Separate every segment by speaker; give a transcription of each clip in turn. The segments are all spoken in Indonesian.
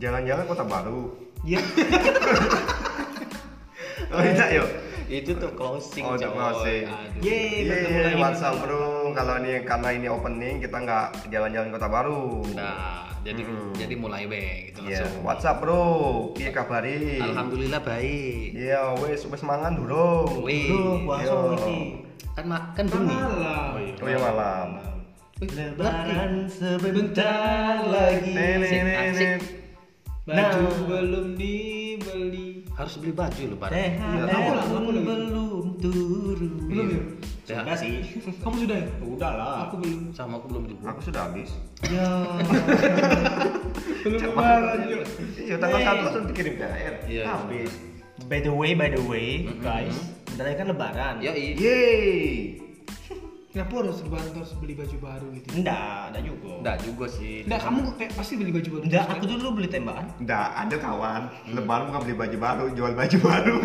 Speaker 1: Jalan-jalan kota baru.
Speaker 2: Iya.
Speaker 1: Oh tidak yuk.
Speaker 3: Itu tuh closing
Speaker 1: Oh, udah
Speaker 3: coy.
Speaker 1: closing.
Speaker 3: Aduh.
Speaker 2: Yeay,
Speaker 1: Iya,
Speaker 2: bertemu lagi.
Speaker 1: WhatsApp bro. Kalau ini karena ini opening kita nggak jalan-jalan kota baru.
Speaker 3: Nah, jadi
Speaker 1: Hmm.
Speaker 3: jadi mulai be gitu
Speaker 1: Iya,
Speaker 3: langsung.
Speaker 1: WhatsApp bro. Piye kabari?
Speaker 3: Alhamdulillah baik.
Speaker 1: Iya, wes wes mangan durung.
Speaker 3: Wih,
Speaker 2: Duh, puasa
Speaker 1: Yo.
Speaker 2: iki.
Speaker 3: kan ma- kan bengi.
Speaker 2: Malam.
Speaker 1: Oh iya malam.
Speaker 3: Wih,
Speaker 2: Lebaran
Speaker 3: berarti.
Speaker 2: sebentar lagi.
Speaker 1: Nene
Speaker 3: Asik,
Speaker 1: nene.
Speaker 3: asik.
Speaker 2: Nah.
Speaker 4: Baju belum dibeli.
Speaker 3: eh, harus beli baju lu pada.
Speaker 2: THR
Speaker 1: Aku
Speaker 4: lah, aku
Speaker 2: pun
Speaker 4: lagi.
Speaker 2: belum turun.
Speaker 4: Belum ya?
Speaker 3: Ya.
Speaker 2: Sudah sih.
Speaker 4: Kamu sudah ya? Udah lah. Aku belum.
Speaker 3: Sama aku belum juga.
Speaker 1: Aku sudah habis.
Speaker 2: Ya.
Speaker 4: Belum lebaran yuk.
Speaker 1: Iya, tanggal
Speaker 2: Nih.
Speaker 1: satu langsung dikirim THR.
Speaker 3: Iya.
Speaker 1: Habis.
Speaker 2: By the way, by the way, guys, bentar lagi kan lebaran.
Speaker 3: Ya iya.
Speaker 1: Yeay.
Speaker 4: Kenapa harus lebaran terus beli baju baru gitu?
Speaker 2: Enggak, enggak juga.
Speaker 3: Enggak juga sih.
Speaker 4: Enggak, kamu kayak pasti beli baju baru.
Speaker 2: Enggak, aku dulu beli tembakan.
Speaker 1: Nggak ada kawan. Lebaran bukan beli baju baru, jual baju baru.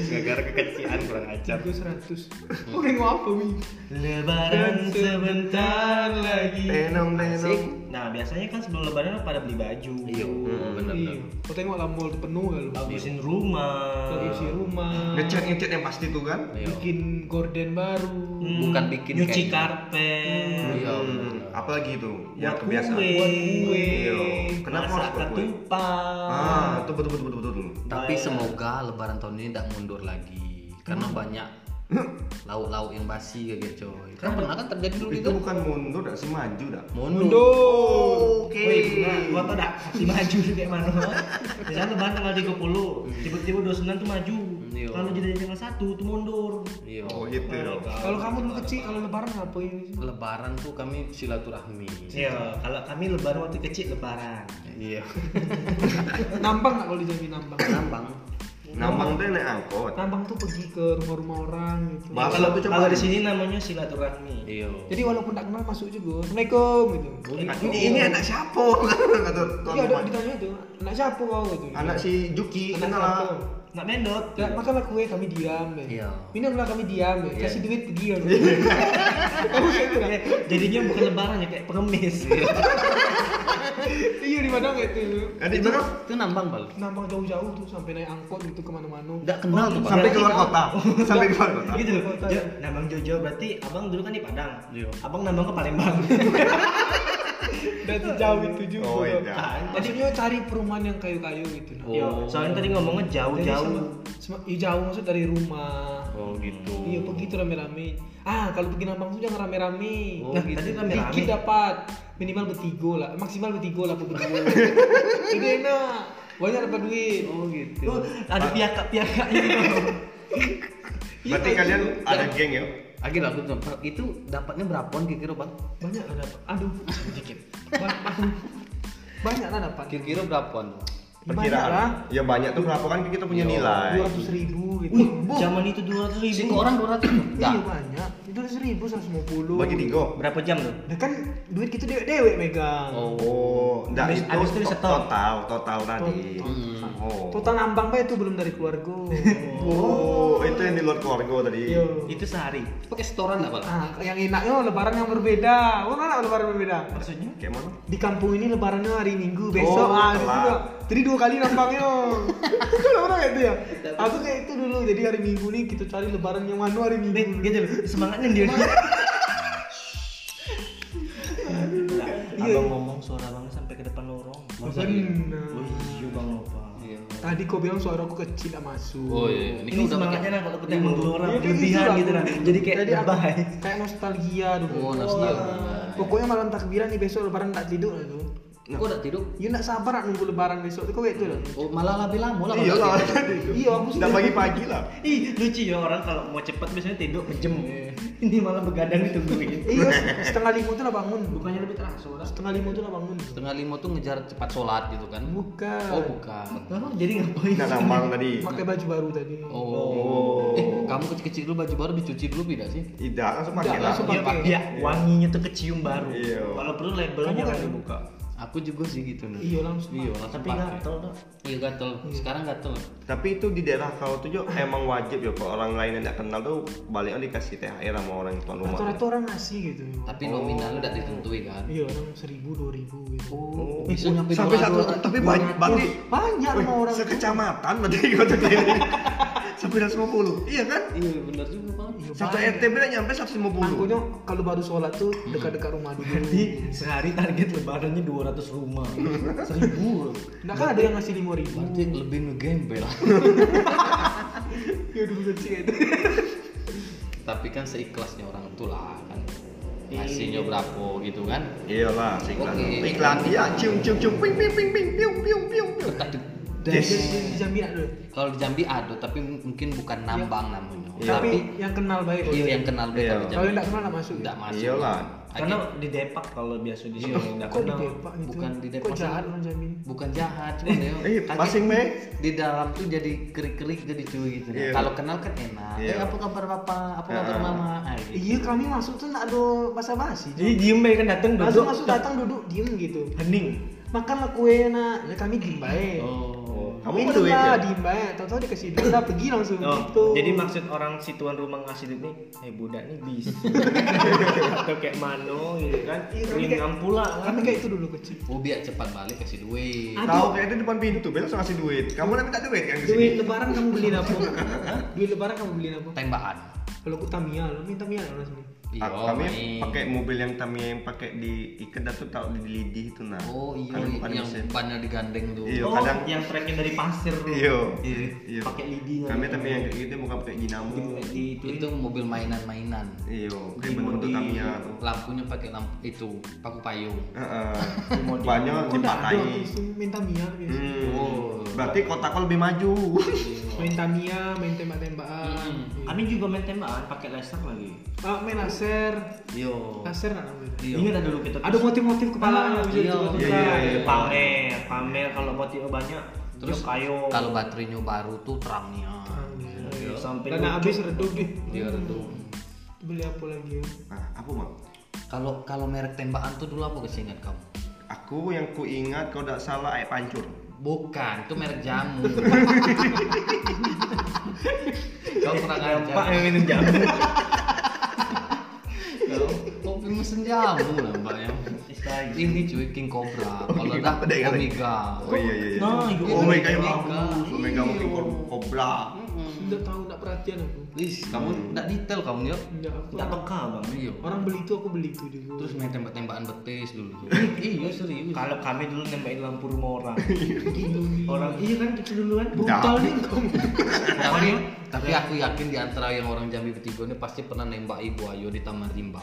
Speaker 3: gara-gara kekecilan kurang ajar.
Speaker 4: Aku 100. Aku kayak ngapa, Mi?
Speaker 2: Lebaran sebentar lagi.
Speaker 1: tenong tenong.
Speaker 2: Nah, biasanya kan sebelum lebaran pada beli baju.
Speaker 3: Iya,
Speaker 1: Hmm.
Speaker 3: benar
Speaker 4: Iya.
Speaker 3: benar.
Speaker 4: Kau tengok lah mall tuh penuh kan lu.
Speaker 2: Bagusin rumah.
Speaker 4: Lagi isi rumah.
Speaker 1: Ngecat ngecat yang pasti tuh kan.
Speaker 3: Iya.
Speaker 4: Bikin gorden baru.
Speaker 2: Hmm,
Speaker 3: Bukan bikin
Speaker 2: nyuci
Speaker 3: kayak-
Speaker 2: karpet.
Speaker 3: Iya.
Speaker 1: Hmm, apalagi itu yang
Speaker 2: Buat
Speaker 1: kebiasaan.
Speaker 2: kue.
Speaker 4: Buat kue.
Speaker 1: Iya. Kenapa
Speaker 2: Kenapa
Speaker 1: harus buat kue?
Speaker 2: ketupat? Nah, ya.
Speaker 1: Ah, itu betul betul betul betul.
Speaker 3: Tapi
Speaker 2: Bayar.
Speaker 3: semoga lebaran tahun ini tidak mundur lagi karena banyak lauk-lauk yang basi kayak gitu, coy. Kan pernah kan terjadi dulu
Speaker 1: Itu
Speaker 3: gitu.
Speaker 1: bukan mundur, dak sih maju dak.
Speaker 3: Mundur.
Speaker 1: Oke.
Speaker 2: Woi, bener.
Speaker 1: nah.
Speaker 2: gua tau dah si maju tuh kayak mana. Misalnya lebaran tanggal 30, tiba-tiba 29 tuh maju.
Speaker 3: Iya.
Speaker 2: Kalau jadi tanggal 1 tuh mundur.
Speaker 3: Iya.
Speaker 1: Oh gitu. dong.
Speaker 4: Kalau kamu dulu kecil, kalau lebaran ngapain?
Speaker 3: Lebaran tuh kami silaturahmi.
Speaker 2: Iya, kalau kami lebaran waktu kecil lebaran.
Speaker 3: Iya.
Speaker 4: Nambang nggak kalau dijamin nambang?
Speaker 3: Nambang.
Speaker 1: Nambang tuh naik angkot.
Speaker 4: Nambang tuh pergi ke rumah-rumah orang gitu.
Speaker 1: Ba- Bahasa
Speaker 2: Kalau
Speaker 1: tuh cuma-
Speaker 2: kalau di sini namanya silaturahmi.
Speaker 3: Iya.
Speaker 4: Jadi walaupun tak kenal masuk juga. Assalamualaikum gitu.
Speaker 1: Ini ini anak siapa? Kata tuan
Speaker 4: Iya ada
Speaker 1: rumah.
Speaker 4: ditanya tuh, anak siapa kau gitu.
Speaker 1: Anak si Juki,
Speaker 4: Anak
Speaker 1: kenal
Speaker 4: siapa?
Speaker 1: lah.
Speaker 2: Nak mendot.
Speaker 4: Ya, makanlah kue kami diam ya.
Speaker 3: Iya.
Speaker 4: Minumlah kami diam ya.
Speaker 3: Iya.
Speaker 4: Kasih duit pergi kan. Kamu kayak gitu kan?
Speaker 2: Iya, Jadinya bukan lebaran ya kayak pengemis.
Speaker 4: Iya di Padang kayak itu.
Speaker 1: Adik berapa?
Speaker 3: Itu nambang, Bal.
Speaker 4: Nambang jauh-jauh tuh sampai naik angkot gitu kemana-mana.
Speaker 3: Enggak kenal tuh, Bal.
Speaker 1: Sampai keluar kota. Sampai keluar kota.
Speaker 2: gitu loh. Jo, nambang Jojo berarti abang dulu kan di Padang.
Speaker 3: Iya.
Speaker 2: Abang nambang ke Palembang.
Speaker 4: Dan sejauh itu juga.
Speaker 1: Oh, iya.
Speaker 2: Kan? Jadi
Speaker 4: Maksudnya cari perumahan yang kayu-kayu gitu. nah.
Speaker 3: Oh.
Speaker 2: Yo, Iya, soalnya tadi ngomongnya
Speaker 4: Jadi
Speaker 2: jauh-jauh.
Speaker 4: sama- sama- iya, jauh maksud dari rumah.
Speaker 3: Oh gitu.
Speaker 4: Iya pergi tuh rame-rame. Ah kalau pergi nambang tuh jangan rame-rame.
Speaker 3: Oh,
Speaker 4: nah,
Speaker 3: gitu.
Speaker 2: Tadi rame-rame.
Speaker 4: Dikit dapat minimal bertiga lah, maksimal bertiga lah berdua. Ini enak. Banyak dapat duit.
Speaker 3: Oh gitu.
Speaker 2: Tuh, ada piakak-piakak gitu.
Speaker 1: Berarti
Speaker 4: Iya,
Speaker 1: kalian
Speaker 4: iya.
Speaker 1: ada geng ya?
Speaker 3: Akhir aku tuh itu dapatnya berapaan kira-kira, Bang?
Speaker 4: Banyak lah dapat. Aduh, dikit. Ba- aduh. Banyak lah dapat.
Speaker 3: Kira-kira berapaan?
Speaker 4: Banyak lah.
Speaker 1: Perkiraan. Ya banyak tuh berapa kan kita punya
Speaker 3: Iya.
Speaker 1: nilai.
Speaker 4: Dua ratus ribu gitu.
Speaker 2: Wih, zaman itu 200 ribu.
Speaker 3: Sih orang 200.
Speaker 4: Iya
Speaker 3: Enggak.
Speaker 4: banyak. Itu seribu seratus lima puluh.
Speaker 1: Bagi tiga.
Speaker 2: Berapa jam tuh?
Speaker 4: Nah kan duit kita dewe-dewe megang.
Speaker 1: Oh, enggak
Speaker 2: Habis- habis itu di setor.
Speaker 1: total, total tadi. Oh.
Speaker 4: Total nambang bae itu belum dari keluarga.
Speaker 1: Oh, itu yang di luar keluarga tadi.
Speaker 4: Iya.
Speaker 2: Itu sehari.
Speaker 3: Pakai setoran enggak, Bal?
Speaker 4: Ah, yang enaknya lebaran yang berbeda. Oh, mana lebaran berbeda?
Speaker 2: Maksudnya?
Speaker 1: Kayak mana?
Speaker 4: Di kampung ini lebarannya hari Minggu,
Speaker 1: Oh,
Speaker 4: besok ah, ada
Speaker 1: telat.
Speaker 4: juga. Jadi dua kali nampangnya. oh. Kenapa kayak itu ya? Aku kayak itu dulu. Jadi hari Minggu nih kita cari lebaran yang mana hari
Speaker 2: Nih,
Speaker 4: Minggu.
Speaker 2: gitu loh. Semangatnya dia. Nah, Abang ngomong suara abang sampai ke depan lorong.
Speaker 4: Benar.
Speaker 2: Oh iya bang lupa.
Speaker 3: Iya.
Speaker 4: Tadi kau bilang suara aku kecil tak masuk.
Speaker 3: Oh iya, ini
Speaker 2: Ini
Speaker 3: kan udah
Speaker 2: semangatnya
Speaker 3: pakai.
Speaker 2: nah kalau ketemu dua orang
Speaker 4: Iya, kayak
Speaker 2: berlebihan
Speaker 4: lah
Speaker 2: gitu
Speaker 4: aku.
Speaker 2: nah. Jadi kayak
Speaker 4: aku
Speaker 2: lebay.
Speaker 4: kayak nostalgia dulu. Iya.
Speaker 3: Oh, nostalgia.
Speaker 4: Pokoknya malam takbiran nih besok lebaran tak tidur lah tuh.
Speaker 3: Kok udah tidur?
Speaker 4: Ya nak sabar nak nunggu lebaran besok tuh kau kayak gitu, itu loh.
Speaker 3: Oh, malah lebih lama lah. Bang.
Speaker 1: Iya lah.
Speaker 4: Iya, aku sih-
Speaker 1: Udah pagi-pagi lah.
Speaker 2: Ih lucu ya orang kalau mau cepet biasanya tidur mejem. Ini malah begadang ditungguin.
Speaker 4: Iya, setengah lima tuh lah bangun.
Speaker 2: Bukannya lebih terasa orang?
Speaker 4: Setengah lima tuh lah bangun.
Speaker 3: Setengah lima tuh ngejar cepat sholat gitu kan?
Speaker 4: Bukan.
Speaker 3: Oh bukan.
Speaker 2: Emang jadi ngapain?
Speaker 1: Enggak nambang tadi.
Speaker 4: Pakai baju baru tadi.
Speaker 3: Oh. Eh, kamu kecil-kecil dulu baju baru dicuci dulu tidak sih?
Speaker 1: Tidak, langsung pakai
Speaker 4: Tidak,
Speaker 1: lah.
Speaker 4: langsung
Speaker 2: Iya,
Speaker 4: pakai.
Speaker 2: Pak. Iya, wanginya tuh kecium baru.
Speaker 1: Iya.
Speaker 2: Kalau perlu labelnya
Speaker 4: Kamu
Speaker 2: jangan
Speaker 4: kan-
Speaker 2: dibuka.
Speaker 3: Aku juga sih gitu nih.
Speaker 4: Iya, langsung
Speaker 3: Iya,
Speaker 4: pakai.
Speaker 3: langsung
Speaker 2: Tapi
Speaker 3: pakai.
Speaker 2: gatel dok.
Speaker 3: Iya gatel. Sekarang gatel.
Speaker 1: Tapi itu di daerah kau tuh Jo, emang wajib ya kalau orang lain yang tidak kenal tuh baliknya dikasih THR sama orang tuan rumah.
Speaker 4: rata-rata orang ngasih gitu
Speaker 3: Tapi nominalnya udah ditentuin kan.
Speaker 4: iya orang seribu dua ribu gitu
Speaker 3: Oh,
Speaker 1: Eh,
Speaker 3: bisa nyampe
Speaker 1: sampai
Speaker 3: dua-
Speaker 1: satu
Speaker 3: dua-
Speaker 1: tapi
Speaker 3: dua
Speaker 1: banyak
Speaker 3: ratus.
Speaker 1: banget.
Speaker 4: banyak sama orang
Speaker 1: sekecamatan berarti kau tuh ini. Sampai 150. Iya kan?
Speaker 3: Iya benar juga bang.
Speaker 1: Satu RT bila nyampe 150.
Speaker 4: Akunya kalau baru sholat tuh
Speaker 3: Hmm.
Speaker 4: dekat-dekat rumah dulu.
Speaker 2: Jadi sehari target lebarannya 200 rumah. 1000.
Speaker 4: Nah kan ada yang ngasih lima ribu.
Speaker 3: Berarti lebih ngegembel.
Speaker 4: Ya udah kecil itu.
Speaker 3: tapi kan seikhlasnya orang itu lah kan. Hasilnya berapa gitu kan?
Speaker 1: Iyalah, si iklan.
Speaker 3: Oke.
Speaker 1: Iklan dia cium cium cium ping ping ping ping piung piung piung piung.
Speaker 3: Tetap di-
Speaker 4: Dari di Jambi ada.
Speaker 3: Kalau di Jambi ada, tapi mungkin bukan nambang namanya.
Speaker 1: Iya.
Speaker 4: Tapi
Speaker 3: Tapi
Speaker 4: yang kenal baik.
Speaker 3: iya yang kenal
Speaker 1: Iya.
Speaker 3: beta di
Speaker 4: Kalau yang
Speaker 3: Jambi.
Speaker 4: nggak kenal nggak masuk. ya.
Speaker 3: Tidak masuk.
Speaker 1: Iyalah.
Speaker 2: Karena di Depak kalau biasa di sini enggak
Speaker 4: Iya. Kok di
Speaker 2: kenal.
Speaker 4: Depak gitu?
Speaker 3: Bukan di Depak.
Speaker 4: Kok jahat orang Jambi? ini?
Speaker 3: bukan jahat cuma dia
Speaker 1: Eh,
Speaker 3: kaget.
Speaker 1: masing meh.
Speaker 3: di dalam tuh jadi kerik-kerik jadi cuy gitu
Speaker 1: Iya.
Speaker 3: kalau kenal kan enak
Speaker 1: Iya.
Speaker 3: eh apa kabar bapak apa kabar
Speaker 1: Heeh.
Speaker 3: mama ah, gitu.
Speaker 4: Iya kami masuk tuh nggak ada basa-basi.
Speaker 3: Iya,
Speaker 2: Jadi diem baik kan datang
Speaker 4: Langsung
Speaker 2: duduk.
Speaker 4: masuk datang duduk diem gitu.
Speaker 2: Hening.
Speaker 4: Makan lah kue nak. Nah, kami diem baik.
Speaker 3: oh
Speaker 1: Kamu
Speaker 4: Minum
Speaker 1: duit ya?
Speaker 4: lah, diem baik. Tahu-tahu dikasih duit lah pergi langsung
Speaker 2: Oh,
Speaker 4: gitu.
Speaker 2: jadi maksud orang si tuan rumah ngasih duit nih, eh budak nih bis. Atau kayak mano gitu kan.
Speaker 4: Iya, kami
Speaker 2: Ringan
Speaker 4: kayak-
Speaker 2: pula kan.
Speaker 4: kami kayak itu dulu kecil.
Speaker 3: oh biar cepat balik kasih duit
Speaker 4: Ah.
Speaker 1: Tahu kayak itu depan pintu, besok ngasih duit. Kamu udah minta duit kan di sini?
Speaker 4: Duit lebaran kamu beliin apa? Hah? Duit lebaran kamu beliin apa?
Speaker 3: tembakan
Speaker 4: Kalau aku Tamiya, lo minta Tamiya lo sini.
Speaker 3: iya
Speaker 1: Ah, kami
Speaker 3: main.
Speaker 1: pakai mobil yang Tamiya yang pakai di ikat tuh taruh di lidih itu nah.
Speaker 3: oh iya
Speaker 1: Kami bukan
Speaker 3: yang
Speaker 1: mesin.
Speaker 3: bannya digandeng tuh
Speaker 1: Iya.
Speaker 2: Oh,
Speaker 1: kadang-
Speaker 2: yang treknya dari pasir tuh.
Speaker 1: Iya.
Speaker 2: Iya.
Speaker 1: Iya.
Speaker 2: Pakai lidi.
Speaker 1: Kami tapi yang kayak gitu bukan pakai dinamo.
Speaker 2: di itu
Speaker 3: itu mobil mainan-mainan
Speaker 1: Iya, kayak
Speaker 2: Di
Speaker 1: bentuk
Speaker 2: modi.
Speaker 1: Tamiya tuh.
Speaker 3: lampunya pakai lampu itu paku payung
Speaker 1: Heeh. Oh.
Speaker 2: Di modi.
Speaker 1: Banyak
Speaker 4: Kok nggak ada
Speaker 1: dipakai.
Speaker 4: waktu itu main Tamiya gitu. biasa.
Speaker 1: Hmm.
Speaker 3: Oh.
Speaker 1: Berarti kota kau lebih maju.
Speaker 4: Main Tamiya, main tembak-tembakan.
Speaker 3: Mm-mm.
Speaker 4: Iya.
Speaker 2: Kami juga main tembakan pakai laser lagi.
Speaker 4: Ah, main laser.
Speaker 1: Iya.
Speaker 3: yo
Speaker 4: Laser nggak namanya?
Speaker 3: iya
Speaker 2: Ingat ada dulu kita.
Speaker 4: Ada motif-motif
Speaker 2: Ah,
Speaker 4: kepalanya
Speaker 2: gitu,
Speaker 4: bisa
Speaker 3: iya.
Speaker 4: ditukar.
Speaker 1: Iya, iya, iya.
Speaker 2: pamer, pamer kalau motif banyak
Speaker 3: terus
Speaker 2: kayu.
Speaker 3: kalau baterainya baru tuh terangnya
Speaker 2: Iya, sampai
Speaker 4: Ah, gitu. Dan
Speaker 2: lucu.
Speaker 4: habis redup deh.
Speaker 3: dia redup
Speaker 4: Beli apa lagi ya?
Speaker 1: Nah, apa mak?
Speaker 3: Kalau kalau merek tembakan tuh dulu apa kesingat kamu?
Speaker 1: Aku yang ku ingat kau tidak salah air pancur.
Speaker 3: Bukan, itu merek jamu. Kau pernah
Speaker 2: Pak
Speaker 1: ya.
Speaker 3: ngajar.
Speaker 2: yang minum jamu.
Speaker 3: Kau kopi mesin jamu lah mbak ya. Ini cuy King Cobra.
Speaker 1: Oh,
Speaker 3: Kalau dah
Speaker 1: ada yang lain.
Speaker 3: Omega.
Speaker 1: Oh iya iya iya.
Speaker 2: Nah, itu
Speaker 1: Omega yang
Speaker 3: Omega.
Speaker 1: bagus, Omega mungkin
Speaker 3: Iya.
Speaker 1: kobra.
Speaker 4: Nggak tahu, nggak perhatian aku.
Speaker 3: Wis, kamu nggak detail kamu ya?
Speaker 4: Nggak
Speaker 2: Enggak
Speaker 4: apa.
Speaker 2: peka, Bang.
Speaker 3: Iya.
Speaker 4: Orang beli itu aku beli itu juga.
Speaker 3: Terus main tembak-tembakan betis dulu. tuh. iya serius.
Speaker 2: Kalau kami dulu nembakin lampu rumah orang.
Speaker 4: gitu nih.
Speaker 2: orang iya kan kita dulu kan.
Speaker 4: brutal nih kamu.
Speaker 3: tapi tapi aku yakin di antara yang orang Jambi bertiga ini pasti pernah nembak Ibu Ayu di Taman Rimba.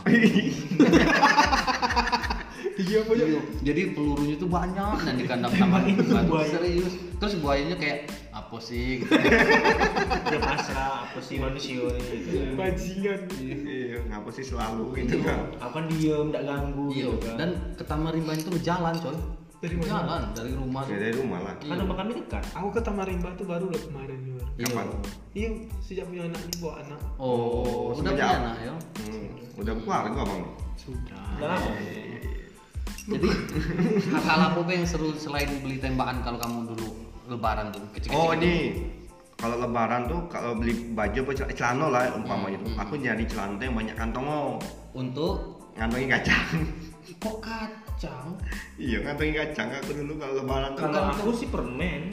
Speaker 4: Iya banyak.
Speaker 3: Iya. Jadi pelurunya tuh banyak dan di kandang taman
Speaker 1: Iya,
Speaker 3: Bukan,
Speaker 2: buaya.
Speaker 3: serius. Terus buayanya kayak apa sih? Gitu.
Speaker 2: Dia pasrah apa sih manusia gitu.
Speaker 4: Bajingan.
Speaker 1: Iya, ngapa sih selalu gitu kan?
Speaker 2: Apa diem, enggak ganggu
Speaker 3: Iya.
Speaker 2: gitu kan.
Speaker 3: Dan ke Taman Rimba itu berjalan coy.
Speaker 4: Dari
Speaker 1: Iya,
Speaker 4: mana?
Speaker 3: Jalan dari rumah.
Speaker 1: Ya, dari rumah lah.
Speaker 2: kan rumah kami dekat.
Speaker 4: Aku ke Tamarimba tuh baru loh kemarin juga.
Speaker 3: Iya.
Speaker 1: Kapan?
Speaker 4: Iya, sejak punya anak nih bawa anak.
Speaker 3: Oh, udah
Speaker 1: semenjak-
Speaker 3: punya anak ya.
Speaker 1: Hmm, udah keluarga bang.
Speaker 4: Sudah.
Speaker 3: Ah,
Speaker 2: Udah lama.
Speaker 3: iya, Jadi hal-hal apa Be, yang seru selain beli tembakan kalau kamu dulu lebaran tuh kecil-kecil?
Speaker 1: Oh
Speaker 3: gitu?
Speaker 1: ini kalau lebaran tuh kalau beli baju apa cel- celana lah umpamanya tuh. Aku nyari celana tuh yang banyak kantongnya.
Speaker 3: Untuk
Speaker 1: Ngantongin kacang.
Speaker 3: kok kacang?
Speaker 1: iya, ngantongin kacang aku dulu kalau lebaran tuh.
Speaker 2: Kalau aku sih permen.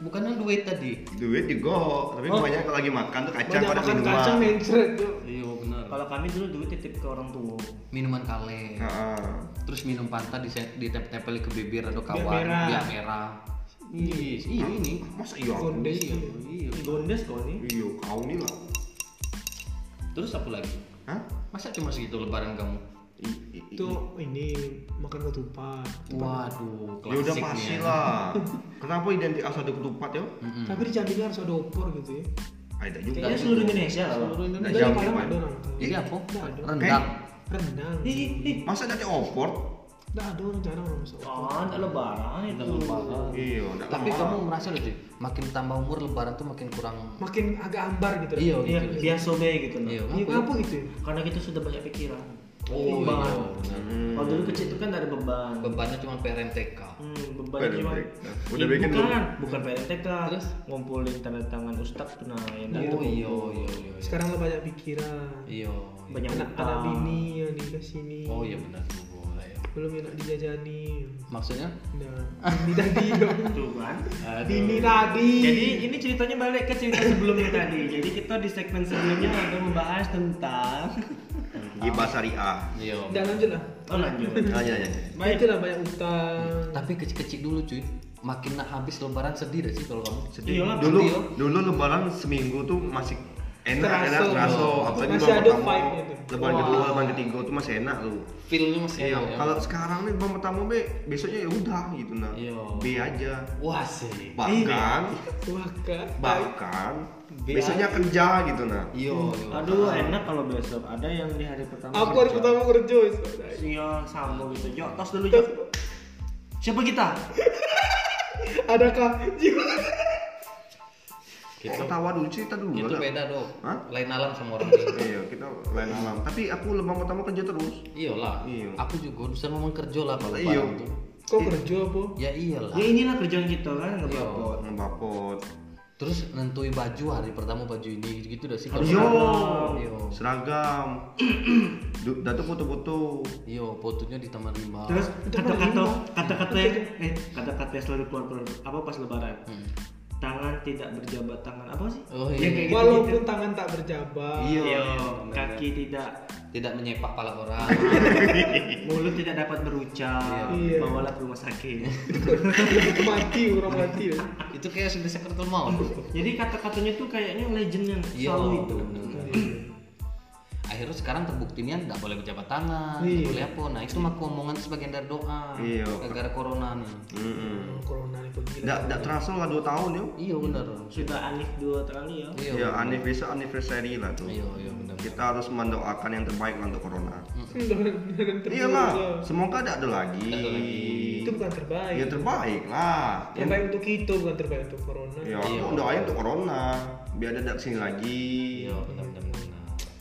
Speaker 3: Bukannya duit tadi?
Speaker 1: Duit juga, tapi
Speaker 2: Oh.
Speaker 1: banyak kalau lagi makan tuh kacang
Speaker 4: Banyak
Speaker 1: kalau
Speaker 4: makan
Speaker 1: minuman.
Speaker 4: kacang mencret tuh.
Speaker 3: Iya benar.
Speaker 2: Kalau kami dulu duit titip ke orang tua.
Speaker 3: Minuman kaleng.
Speaker 1: Heeh.
Speaker 3: terus minum pantat di ditempel ke bibir atau kawan
Speaker 4: Biar merah.
Speaker 3: biar merah iya iya ini
Speaker 1: Masa iya? aku?
Speaker 4: Gondes.
Speaker 3: iya iya
Speaker 2: Gondes kau nih.
Speaker 1: Iya, kau nih lah.
Speaker 3: terus apa lagi
Speaker 1: Hah?
Speaker 3: masa cuma segitu lebaran kamu
Speaker 1: I- i- i-
Speaker 4: Tuh ini makan ketupat.
Speaker 3: waduh
Speaker 1: Ya udah
Speaker 3: klasik
Speaker 1: pasti
Speaker 3: nih ya.
Speaker 1: lah. Kenapa identik asal ada ketupat ya?
Speaker 3: Mm-mm.
Speaker 4: Tapi di Jambi ini harus ada opor gitu ya.
Speaker 1: Ada Ah, juga.
Speaker 2: Kayaknya seluruh Indonesia lah. Bang.
Speaker 3: seluruh
Speaker 1: Nah,
Speaker 3: Indonesia
Speaker 4: Dari
Speaker 1: Jambi,
Speaker 4: Padang
Speaker 1: Pak.
Speaker 4: ada orang tahu.
Speaker 3: jadi Iya, apa
Speaker 4: Nggak ada.
Speaker 3: rendang
Speaker 4: Rendang.
Speaker 2: Ih, ih, ih.
Speaker 1: Masa ada opor?
Speaker 4: Nggak ada orang jarang orang masak opor.
Speaker 2: Oh, ada lebaran itu.
Speaker 3: lebaran
Speaker 1: Iya, enggak
Speaker 3: tapi kamu merasa loh cuy makin tambah umur lebaran tuh makin kurang
Speaker 4: Makin agak ambar gitu.
Speaker 3: iya
Speaker 2: Iya,
Speaker 3: gitu
Speaker 2: biasa be gitu nah.
Speaker 3: iya
Speaker 4: Iya,
Speaker 3: apa
Speaker 4: apa gitu ya?
Speaker 2: Karena kita sudah banyak pikiran.
Speaker 3: Oh,
Speaker 2: Beban.
Speaker 3: iya, benar.
Speaker 2: Kalau dulu kecil itu kan ada beban.
Speaker 3: Bebannya cuma PRMTK.
Speaker 2: Hmm, beban
Speaker 1: Parent
Speaker 2: cuma
Speaker 1: TK. Udah
Speaker 2: Ih,
Speaker 1: bikin
Speaker 2: bukan,
Speaker 1: belum?
Speaker 2: bukan PNTK.
Speaker 3: Terus?
Speaker 2: ngumpulin tanda tangan ustaz tuh nah yang datang.
Speaker 3: Oh iya iya iya.
Speaker 4: Sekarang lo banyak pikiran.
Speaker 3: Iya. iya.
Speaker 2: Banyak
Speaker 4: Anak anak
Speaker 2: utang.
Speaker 4: bini ya, yang dikasih ini.
Speaker 3: Oh iya benar tuh boleh. ya.
Speaker 4: Belum enak dijajani.
Speaker 3: Maksudnya?
Speaker 4: Nah, bini tadi dong.
Speaker 2: Tuh kan.
Speaker 3: Aduh.
Speaker 4: Bini tadi.
Speaker 2: Jadi ini ceritanya balik ke cerita sebelumnya tadi. Jadi kita di segmen sebelumnya udah membahas tentang
Speaker 1: Gibah syariah.
Speaker 3: Iya. Ah,
Speaker 4: Udah lanjut lah.
Speaker 2: Oh lanjut.
Speaker 1: Nanya nanya.
Speaker 4: Itu lah banyak utang.
Speaker 3: Tapi kecil-kecil dulu cuy. Makin nak habis lebaran sedih gak sih kalau kamu?
Speaker 2: Iya lah,
Speaker 1: Dulu
Speaker 3: pasti, yo.
Speaker 1: dulu lebaran seminggu tuh masih enak
Speaker 4: Terasa.
Speaker 1: enak terasa apalagi
Speaker 4: Masih
Speaker 1: lebaran
Speaker 4: ada
Speaker 1: pertama
Speaker 4: vibe-nya tuh.
Speaker 1: lebaran
Speaker 3: Wah.
Speaker 1: kedua lebaran ketiga tuh masih enak loh
Speaker 3: Feelnya masih
Speaker 1: Iya,
Speaker 3: enak ya.
Speaker 1: kalau sekarang nih bang pertama B, besoknya ya udah gitu nah.
Speaker 3: Iya.
Speaker 1: B aja.
Speaker 3: Wah sih.
Speaker 1: Bahkan
Speaker 4: Waka.
Speaker 1: bahkan
Speaker 3: B
Speaker 1: besoknya kerja gitu nah.
Speaker 3: Iya. iya.
Speaker 2: Aduh enak kalau besok ada yang di hari pertama.
Speaker 4: Aku hari
Speaker 2: kerja.
Speaker 4: pertama kerja. saudara.
Speaker 2: Iya sama gitu. Jok tos dulu Jok. Siapa kita?
Speaker 4: Adakah jiwa?
Speaker 3: Gitu.
Speaker 1: Ketawa dulu cerita dulu.
Speaker 3: Itu
Speaker 1: lah.
Speaker 3: beda dong.
Speaker 1: Hah?
Speaker 3: Lain alam sama orang ini.
Speaker 1: Iya, kita lain malam. Tapi aku lebang pertama kerja terus.
Speaker 3: Iyalah.
Speaker 1: Iya.
Speaker 3: Aku juga bisa ngomong kerja lah kalau
Speaker 1: Iya.
Speaker 3: lebaran tuh.
Speaker 4: Kok kerja apa?
Speaker 3: Ya iyalah.
Speaker 2: Ya inilah kerjaan kita kan nggak
Speaker 3: Iya.
Speaker 2: apa-apa.
Speaker 1: Ngebapot.
Speaker 3: Terus nentuin baju hari pertama baju ini gitu udah sih. kalau-
Speaker 1: Yo.
Speaker 3: Yo.
Speaker 1: Seragam. Du- Dah tuh foto-foto.
Speaker 3: Yo, fotonya di taman rimba.
Speaker 2: Terus
Speaker 4: Itu kan
Speaker 2: kata-kata
Speaker 4: lima.
Speaker 2: kata-kata yang eh kata-kata yang selalu keluar keluar apa pas lebaran?
Speaker 3: Hmm.
Speaker 2: Tangan tidak berjabat tangan apa sih?
Speaker 3: Oh,
Speaker 2: Ya,
Speaker 3: iya.
Speaker 2: kayak gitu-gitu.
Speaker 4: Walaupun tangan tak berjabat.
Speaker 3: Iya.
Speaker 2: Iya,
Speaker 3: bener.
Speaker 2: kaki tidak
Speaker 3: Tidak menyepak pala orang.
Speaker 2: mulut tidak dapat berucap.
Speaker 4: Iya.
Speaker 2: Bawalah ke rumah sakit.
Speaker 4: mati orang
Speaker 3: Iya.
Speaker 4: mati ya.
Speaker 3: itu kayak sudah sekretar mau.
Speaker 2: Jadi kata-katanya tuh kayaknya legend yang
Speaker 3: Iya.
Speaker 2: selalu itu.
Speaker 3: bener. Akhirnya sekarang terbukti nih tidak boleh berjabat tangan,
Speaker 4: Iya.
Speaker 3: nggak boleh apa. Nah itu mah omongan sebagian dari doa.
Speaker 1: Iya.
Speaker 3: Gara-gara corona nih.
Speaker 1: Heeh.
Speaker 4: corona nih pegila
Speaker 1: Dak dak terasa lah 2 tahun yo.
Speaker 3: Iya benar.
Speaker 2: Sudah anif dua kali ya.
Speaker 3: Iya.
Speaker 1: Ya, anniversary anniversary lah tuh.
Speaker 3: Iya iya benar.
Speaker 1: Kita harus mendoakan yang terbaik lah untuk corona.
Speaker 4: Dengan terbaik.
Speaker 3: Iya,
Speaker 1: Iyalah, semoga tidak ada lagi.
Speaker 3: Mm. Nggak ada lagi.
Speaker 4: kan itu bukan terbaik
Speaker 3: Iya,
Speaker 1: Ya terbaik lah. Ya,
Speaker 4: terbaik untuk kita bukan terbaik untuk corona
Speaker 1: ya aku doain untuk corona biar ada kesini lagi.
Speaker 3: Iya benar benar. benar.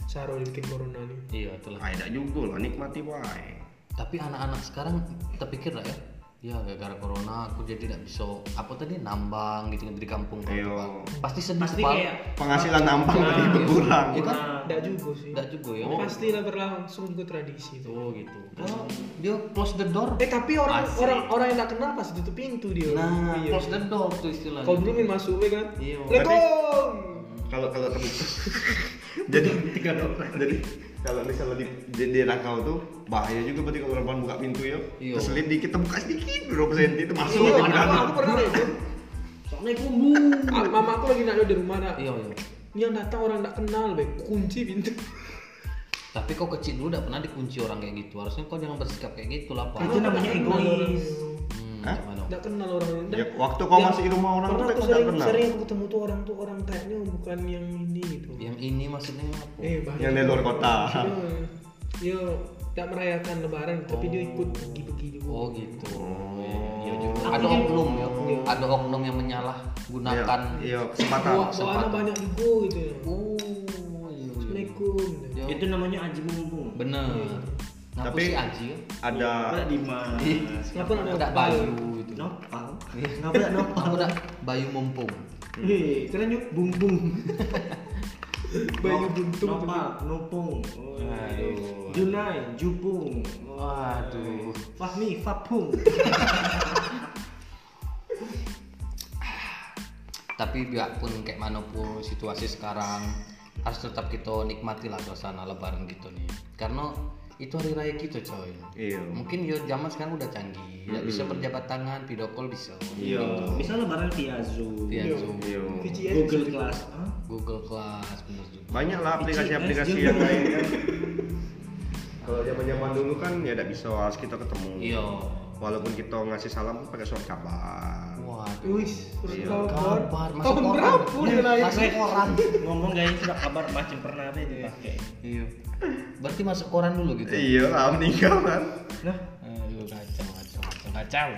Speaker 4: Saro bikin corona nih
Speaker 3: Iya itulah.
Speaker 1: Ah, tidak juga lah nikmati wae.
Speaker 3: Tapi anak-anak sekarang terpikir lah ya. Ya gara-gara corona aku jadi tidak bisa apa tadi nambang gitu kan di kampung kan.
Speaker 1: Iya.
Speaker 3: Pasti sedih
Speaker 2: Pasti
Speaker 3: kepala.
Speaker 2: kayak
Speaker 1: Penghasilan nampang tadi berkurang.
Speaker 3: Iya kan?
Speaker 4: tidak juga sih
Speaker 3: Enggak juga ya.
Speaker 4: pasti lah berlangsung juga tradisi itu
Speaker 3: Oh gitu. Oh, dia close the door.
Speaker 4: eh tapi orang
Speaker 2: Asik.
Speaker 4: orang orang yang tak kenal pasti tutup pintu dia
Speaker 3: Nah,
Speaker 4: iya.
Speaker 3: close the door tuh istilahnya.
Speaker 4: kalau dulu main masuk we kan
Speaker 3: Iya.
Speaker 4: lekong
Speaker 1: Kalau kalau kamu jadi tiga Jadi kalau misalnya di di, di rakau tuh bahaya juga berarti kalau perempuan buka pintu ya.
Speaker 3: Iya.
Speaker 1: Keselip dikit terbuka sedikit berapa senti itu masuk
Speaker 4: iya
Speaker 1: aja
Speaker 4: aku,
Speaker 1: berani.
Speaker 4: aku pernah itu
Speaker 2: Soalnya kumbu.
Speaker 4: mama aku lagi nak di rumah nak
Speaker 3: Iya, iya.
Speaker 4: yang datang orang tak kenal baik kunci pintu
Speaker 3: Tapi kau kecil dulu udah pernah dikunci orang kayak gitu. Harusnya kau jangan bersikap kayak gitu lah, Pak.
Speaker 2: Itu namanya
Speaker 4: Tak kenal
Speaker 2: egois.
Speaker 4: orang.
Speaker 3: Hmm,
Speaker 1: Hah?
Speaker 3: gimana?
Speaker 4: Nggak kenal orang ini.
Speaker 1: Ya, waktu kau
Speaker 4: Yang-
Speaker 1: masih di rumah orang tuh
Speaker 4: pernah aku
Speaker 1: kau nggak
Speaker 4: sering,
Speaker 1: kenal.
Speaker 4: sering aku ketemu tuh orang tuh orang kayaknya bukan yang ini gitu.
Speaker 3: Yang ini maksudnya apa?
Speaker 4: Eh bahaya.
Speaker 1: Yang dari luar kota.
Speaker 4: Iya. Dia tidak merayakan lebaran tapi dia ikut pergi-pergi juga.
Speaker 3: Oh gitu. Iya juga.
Speaker 2: Aku
Speaker 3: Ada
Speaker 2: yang-
Speaker 3: oknum ya.
Speaker 2: Iya.
Speaker 3: Ada oknum yang menyalahgunakan.
Speaker 1: Iya, kesempatan.
Speaker 4: Bawa bawaannya
Speaker 3: Kesempatan.
Speaker 4: banyak juga gitu. ya.
Speaker 3: Oh, iya. iya.
Speaker 4: Assalamualaikum. gitu.
Speaker 3: Iya.
Speaker 2: Itu namanya aji mumpung.
Speaker 3: Bener. Ngapa
Speaker 1: Tapi-
Speaker 3: sih Aji? ya?
Speaker 1: Ada
Speaker 2: Nggak
Speaker 3: Iya.
Speaker 2: dimas.
Speaker 4: Kenapa ada
Speaker 3: Udah
Speaker 4: bal?
Speaker 3: Bayu itu.
Speaker 2: Nopal. Kenapa nopal?
Speaker 3: Aku udah Bayu mumpung.
Speaker 2: Hei, keren yuk, bumbung.
Speaker 4: Bayu buntung.
Speaker 2: Nopal, nopung.
Speaker 3: Aduh.
Speaker 2: Junai, jupung.
Speaker 3: Waduh.
Speaker 2: Fahmi, fapung.
Speaker 3: Tapi biarpun kayak manapun situasi sekarang harus tetap kita nikmati lah suasana lebaran gitu nih. Karena itu hari raya kita coy.
Speaker 1: Iya.
Speaker 3: Mungkin yo zaman sekarang udah canggih, nggak bisa berjabat tangan, video call bisa.
Speaker 1: Iya.
Speaker 2: Misalnya lebaran via Zoom,
Speaker 3: Via Zoom,
Speaker 1: Iya.
Speaker 4: VGS.
Speaker 2: Google Class. Hah?
Speaker 3: Google Class, bener juga.
Speaker 1: Banyak lah aplikasi-aplikasi
Speaker 2: Iya.
Speaker 1: yang lain kan. Kalau zaman-zaman dulu kan ya tidak bisa harus kita ketemu.
Speaker 3: Iya.
Speaker 1: Walaupun kita ngasih salam pakai surat kabar.
Speaker 3: Waduh.
Speaker 4: Wis, terus
Speaker 1: Iya.
Speaker 4: tahun
Speaker 3: Kabar masuk
Speaker 4: tahun
Speaker 3: koran.
Speaker 4: berapa dia lahir?
Speaker 3: Masuk koran.
Speaker 2: Ngomong gak ini sudah kabar macam pernah ada yang dipakai.
Speaker 3: Iya. Berarti masuk koran dulu gitu.
Speaker 1: Iya lah meninggal kan.
Speaker 2: Nah,
Speaker 3: Aduh, kacau, kacau, kacau, kacau.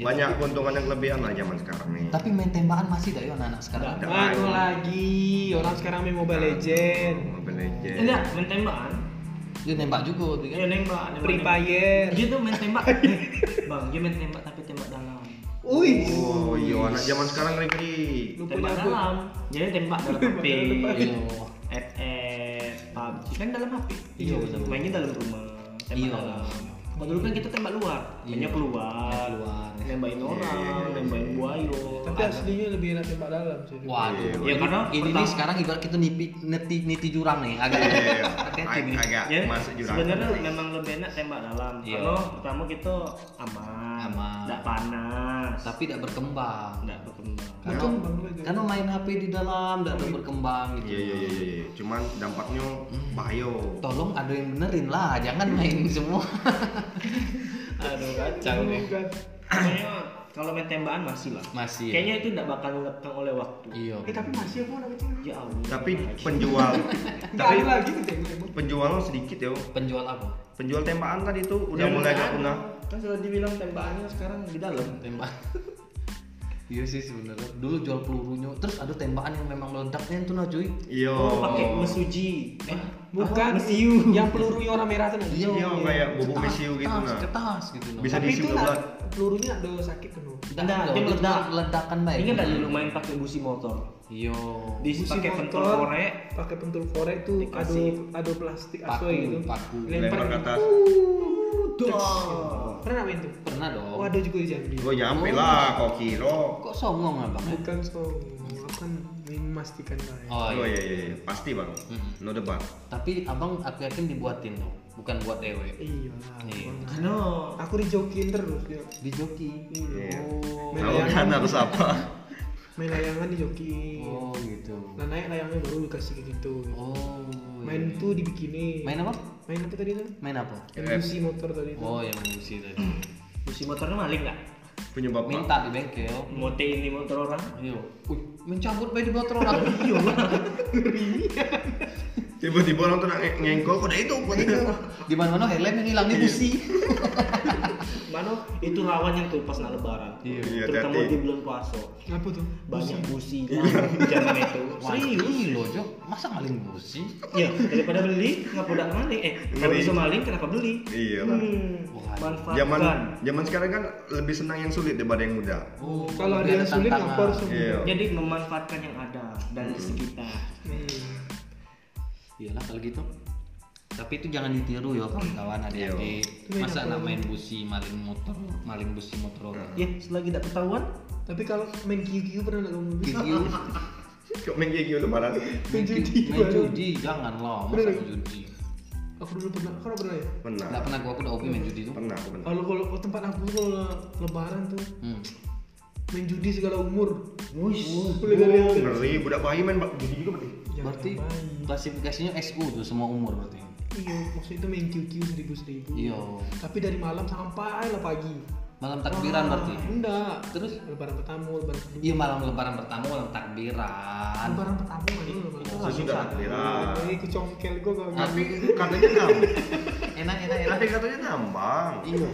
Speaker 2: Gitu.
Speaker 1: Banyak keuntungan yang kelebihan lah zaman sekarang nih.
Speaker 3: Iya. Tapi main tembakan masih dah ya anak-anak sekarang.
Speaker 1: Nggak.
Speaker 4: Mana lagi? Orang sekarang main Mobile Legend.
Speaker 1: Mobile Legend.
Speaker 2: enggak, main tembakan.
Speaker 3: dia nembak juga waktu itu kan?
Speaker 2: Iya nembak, nembak.
Speaker 5: Free
Speaker 2: nembak.
Speaker 5: Fire.
Speaker 2: Dia tuh main tembak. Eh, Bang, dia main tembak tapi tembak dalam.
Speaker 4: Wih.
Speaker 1: Oh iya anak zaman sekarang Ricky.
Speaker 4: Lu
Speaker 2: Tembak
Speaker 4: punya apa?
Speaker 2: dalam. Jadi tembak dalam Eh,
Speaker 4: Tembak
Speaker 2: HP.
Speaker 4: dalam
Speaker 3: kan. Iya.
Speaker 2: FF, PUBG kan dalam HP.
Speaker 3: Iya, betul.
Speaker 2: Mainnya dalam rumah. Tembak
Speaker 3: Iya.
Speaker 2: dalam. Kalau dulu kan kita tembak luar,
Speaker 3: Iya.
Speaker 2: hanya keluar,
Speaker 3: Keluar. Iya,
Speaker 2: nembakin orang, nembakin buaya.
Speaker 4: Tapi aslinya lebih enak tembak dalam sih.
Speaker 3: Waduh.
Speaker 2: Iya,
Speaker 3: Ini-
Speaker 2: karena
Speaker 3: ini nih
Speaker 2: pertama-
Speaker 3: sekarang ibarat kita nipi, neti, niti jurang nih agak
Speaker 1: Iya,
Speaker 3: hati-hati nih.
Speaker 1: ag- agak
Speaker 2: Ya,
Speaker 1: masuk jurang.
Speaker 2: sebenarnya memang lebih enak tembak dalam.
Speaker 3: Iya.
Speaker 2: Kalau pertama kita aman,
Speaker 3: Aman.
Speaker 2: tidak panas,
Speaker 3: Tapi tidak berkembang.
Speaker 2: tidak berkembang.
Speaker 3: Karena, karena main HP di dalam tidak ada berkembang gitu.
Speaker 1: Iya. Iya iya iya iya. Cuman dampaknya bahaya.
Speaker 3: Tolong ada yang benerin lah, jangan main semua. Aduh kacau nih.
Speaker 4: kan.
Speaker 2: Pokoknya kalau main tembakan masih lah.
Speaker 3: Masih. ya?
Speaker 2: Kayaknya itu tidak bakal lekang oleh waktu.
Speaker 3: Iya.
Speaker 4: Eh tapi masih aku anak kecil.
Speaker 2: Ya Allah.
Speaker 1: Tapi penjual
Speaker 4: Nggak
Speaker 1: tapi
Speaker 4: ada lagi tuh tembak.
Speaker 1: penjualnya sedikit ya.
Speaker 3: Penjual apa?
Speaker 1: Penjual tembakan tadi tuh udah
Speaker 2: Ya,
Speaker 1: mulai agak
Speaker 2: tembakan.
Speaker 1: punah.
Speaker 2: Kan sudah dibilang tembakannya sekarang di dalam.
Speaker 3: Tembak. Iya sih sebenarnya. Dulu jual pelurunya, terus ada tembakan yang memang meledaknya itu nah cuy.
Speaker 1: Iya.
Speaker 2: Oh, pakai mesuji. Eh,
Speaker 4: Bukan
Speaker 2: mesiu.
Speaker 4: yang pelurunya warna merah tuh.
Speaker 3: Iya,
Speaker 1: Iya, kayak bubuk mesiu gitu
Speaker 3: Kertas,
Speaker 1: nah.
Speaker 3: kertas gitu nah.
Speaker 1: Bisa
Speaker 4: Tapi
Speaker 1: diisi
Speaker 4: itu
Speaker 1: ke
Speaker 4: lah
Speaker 1: bulan.
Speaker 4: pelurunya ada sakit kan.
Speaker 3: Nggak,
Speaker 2: Nggak,
Speaker 3: nggak,
Speaker 2: Nah, dia
Speaker 3: itu
Speaker 2: meledak.
Speaker 3: ledakan baik.
Speaker 2: Ingat enggak dulu main pakai busi motor?
Speaker 3: Iya.
Speaker 2: Diisi
Speaker 4: Busi
Speaker 2: pakai
Speaker 4: motor.
Speaker 2: pentol korek.
Speaker 4: Pakai pentul korek tuh
Speaker 2: Dikasih.
Speaker 4: ado ado plastik
Speaker 3: Paku,
Speaker 4: asoy gitu.
Speaker 3: paku.
Speaker 1: Lempar ke atas.
Speaker 4: Duh. Pernah main tuh?
Speaker 3: Pernah dong.
Speaker 4: Oh, ada juga di Jambi.
Speaker 1: Gue nyampe lah kok kira.
Speaker 3: Kok songong abang? ya?
Speaker 4: Bukan so, aku kan ingin memastikan lah. ya.
Speaker 3: Oh
Speaker 1: Oh
Speaker 3: iya.
Speaker 1: iya iya iya. pasti bang.
Speaker 3: Mm-mm.
Speaker 1: No debat.
Speaker 3: Tapi abang aku yakin dibuatin dong, bukan buat ewe.
Speaker 4: Iya lah.
Speaker 3: Iya.
Speaker 4: pernah.
Speaker 2: No.
Speaker 4: Aku dijokin terus dia.
Speaker 3: Di joki.
Speaker 1: Iya.
Speaker 4: Oh, main
Speaker 1: Tahu kan
Speaker 4: layangan,
Speaker 1: harus apa?
Speaker 4: main layangan dijokin.
Speaker 3: Oh gitu.
Speaker 4: Nah naik layangnya baru dikasih kayak gitu.
Speaker 3: Oh.
Speaker 4: Main
Speaker 3: iya.
Speaker 4: tuh dibikinin.
Speaker 3: Main apa?
Speaker 4: Main apa tadi tuh?
Speaker 3: Main apa?
Speaker 4: Yang
Speaker 1: Eh.
Speaker 4: busi motor tadi tuh.
Speaker 3: Oh yang musi tadi.
Speaker 2: Busi motornya maling enggak?
Speaker 1: Penyebab
Speaker 3: Minta di bengkel.
Speaker 2: Mote ini motor orang.
Speaker 3: Iya. Wih, mencabut bayi di motor orang. Iya.
Speaker 1: Tiba-tiba orang tuh nak nge- ngengkol. Udah itu. gua tinggal.
Speaker 3: Di mana-mana headlamp yang hilang
Speaker 4: Iya.
Speaker 3: di busi.
Speaker 2: Mano, itu lawannya tuh pas nak lebaran.
Speaker 1: Iya,
Speaker 2: Terutama
Speaker 1: hati-hati.
Speaker 2: di bulan puasa.
Speaker 4: Apa tuh?
Speaker 2: Banyak busi lawan zaman itu. Serius.
Speaker 3: Serius loh, Jok. Masa maling busi?
Speaker 2: Ya, daripada beli, ngapa udah maling? Eh, kalau
Speaker 1: Ngeri.
Speaker 2: bisa maling, kenapa beli?
Speaker 1: Iya lah.
Speaker 2: Hmm,
Speaker 3: Wah,
Speaker 2: manfaatkan.
Speaker 1: Zaman zaman sekarang kan lebih senang yang sulit daripada yang mudah.
Speaker 3: Oh,
Speaker 4: Kalau ada yang sulit
Speaker 3: tantangan.
Speaker 4: aku harus
Speaker 1: Iya.
Speaker 2: Jadi memanfaatkan yang ada dan di sekitar.
Speaker 4: Hmm.
Speaker 3: Iyalah kalau gitu. Tapi itu jangan ditiru ya kawan-kawan adik-adik.
Speaker 4: Iya.
Speaker 3: Masa nak main busi maling motor, maling busi motor orang.
Speaker 2: Ya,
Speaker 4: Iya.
Speaker 2: selagi tidak ketahuan,
Speaker 4: Tapi kalau main kiu-kiu pernah nggak kamu bisa?
Speaker 3: Gigi,
Speaker 1: Kok main kayak gitu lebaran?
Speaker 4: Main judi.
Speaker 3: main judi, jangan loh, masa
Speaker 4: Bener.
Speaker 3: main judi.
Speaker 4: Aku dulu pernah, kau pernah ya?
Speaker 3: Nggak
Speaker 1: Pernah.
Speaker 3: pernah gua aku udah hobi main judi tuh.
Speaker 1: Pernah, aku pernah.
Speaker 4: Kalau kalau oh, tempat aku tuh kalau lebaran tuh
Speaker 3: Hmm.
Speaker 4: main judi segala umur.
Speaker 2: wush,
Speaker 4: Boleh dari aku.
Speaker 1: Oh, Ngeri, budak bayi main gitu, bak- judi juga berarti.
Speaker 4: Jangan
Speaker 3: Berarti
Speaker 4: main.
Speaker 3: klasifikasinya SU tuh semua umur berarti.
Speaker 4: Iya, maksudnya itu main QQ seribu seribu.
Speaker 3: Iya.
Speaker 4: Tapi dari malam sampai lah pagi.
Speaker 3: Malam takbiran
Speaker 4: Ah.
Speaker 3: berarti.
Speaker 4: Enggak.
Speaker 3: Terus?
Speaker 4: lebaran pertama, lebaran kedua.
Speaker 3: Iya malam lebaran pertama malam takbiran.
Speaker 4: Lebaran pertama kan itu lebaran. pertama.
Speaker 1: Sesudah takbiran.
Speaker 4: Jadi aku congkel gue gak
Speaker 1: Tapi katanya nambang.
Speaker 3: Enak enak enak.
Speaker 1: Tapi katanya nambang.
Speaker 3: Iya.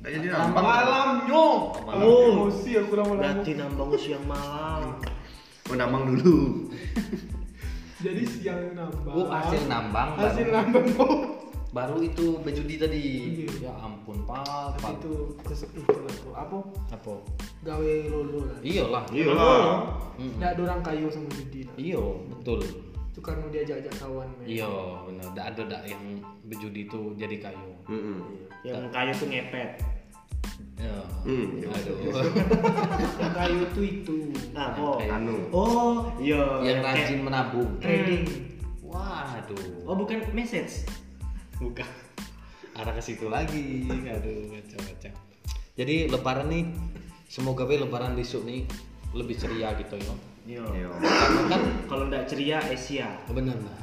Speaker 1: Nggak jadi nambang.
Speaker 4: Malamnya.
Speaker 1: Malam.
Speaker 4: Oh, emosi aku lama-lama.
Speaker 2: berarti nambang usia malam.
Speaker 1: Oh, nambang dulu.
Speaker 4: Jadi siang nambah.
Speaker 3: Oh, hasil nambang,
Speaker 4: Hasil
Speaker 3: baru.
Speaker 4: nambah. Oh.
Speaker 3: Baru itu berjudi tadi.
Speaker 4: Iya.
Speaker 3: Ya ampun, Pak.
Speaker 4: Tapi
Speaker 3: Pak.
Speaker 4: itu kesep itu lah tuh. Apa?
Speaker 3: Apa?
Speaker 4: Gawe lolo lah.
Speaker 3: Iyalah.
Speaker 1: Iya lah.
Speaker 3: Mm-mm.
Speaker 4: Nggak ada orang kayu sama judi lah.
Speaker 3: Iya, betul.
Speaker 4: Itu karena dia ajak-ajak kawan. men.
Speaker 3: Iya, benar. Nggak ada dak yang berjudi itu jadi kayu. Iya.
Speaker 1: Mm-mm.
Speaker 2: Yang kayu tuh ngepet.
Speaker 3: Ya.
Speaker 1: Hmm.
Speaker 3: Aduh.
Speaker 4: Yang kayu tuh itu.
Speaker 2: Nah, oh,
Speaker 3: Yang
Speaker 1: Anu.
Speaker 2: oh, iya.
Speaker 3: Yang
Speaker 2: kayak
Speaker 3: rajin menabung.
Speaker 2: trading.
Speaker 3: Waduh.
Speaker 2: Oh, bukan message.
Speaker 3: Bukan. Arah ke situ lagi. Aduh, kacau-kacau. Jadi lebaran nih semoga we lebaran besok nih lebih ceria gitu ya.
Speaker 2: Iya.
Speaker 1: Iya.
Speaker 3: Karena kan
Speaker 2: Kalau tidak ceria, Asia.
Speaker 3: benar lah.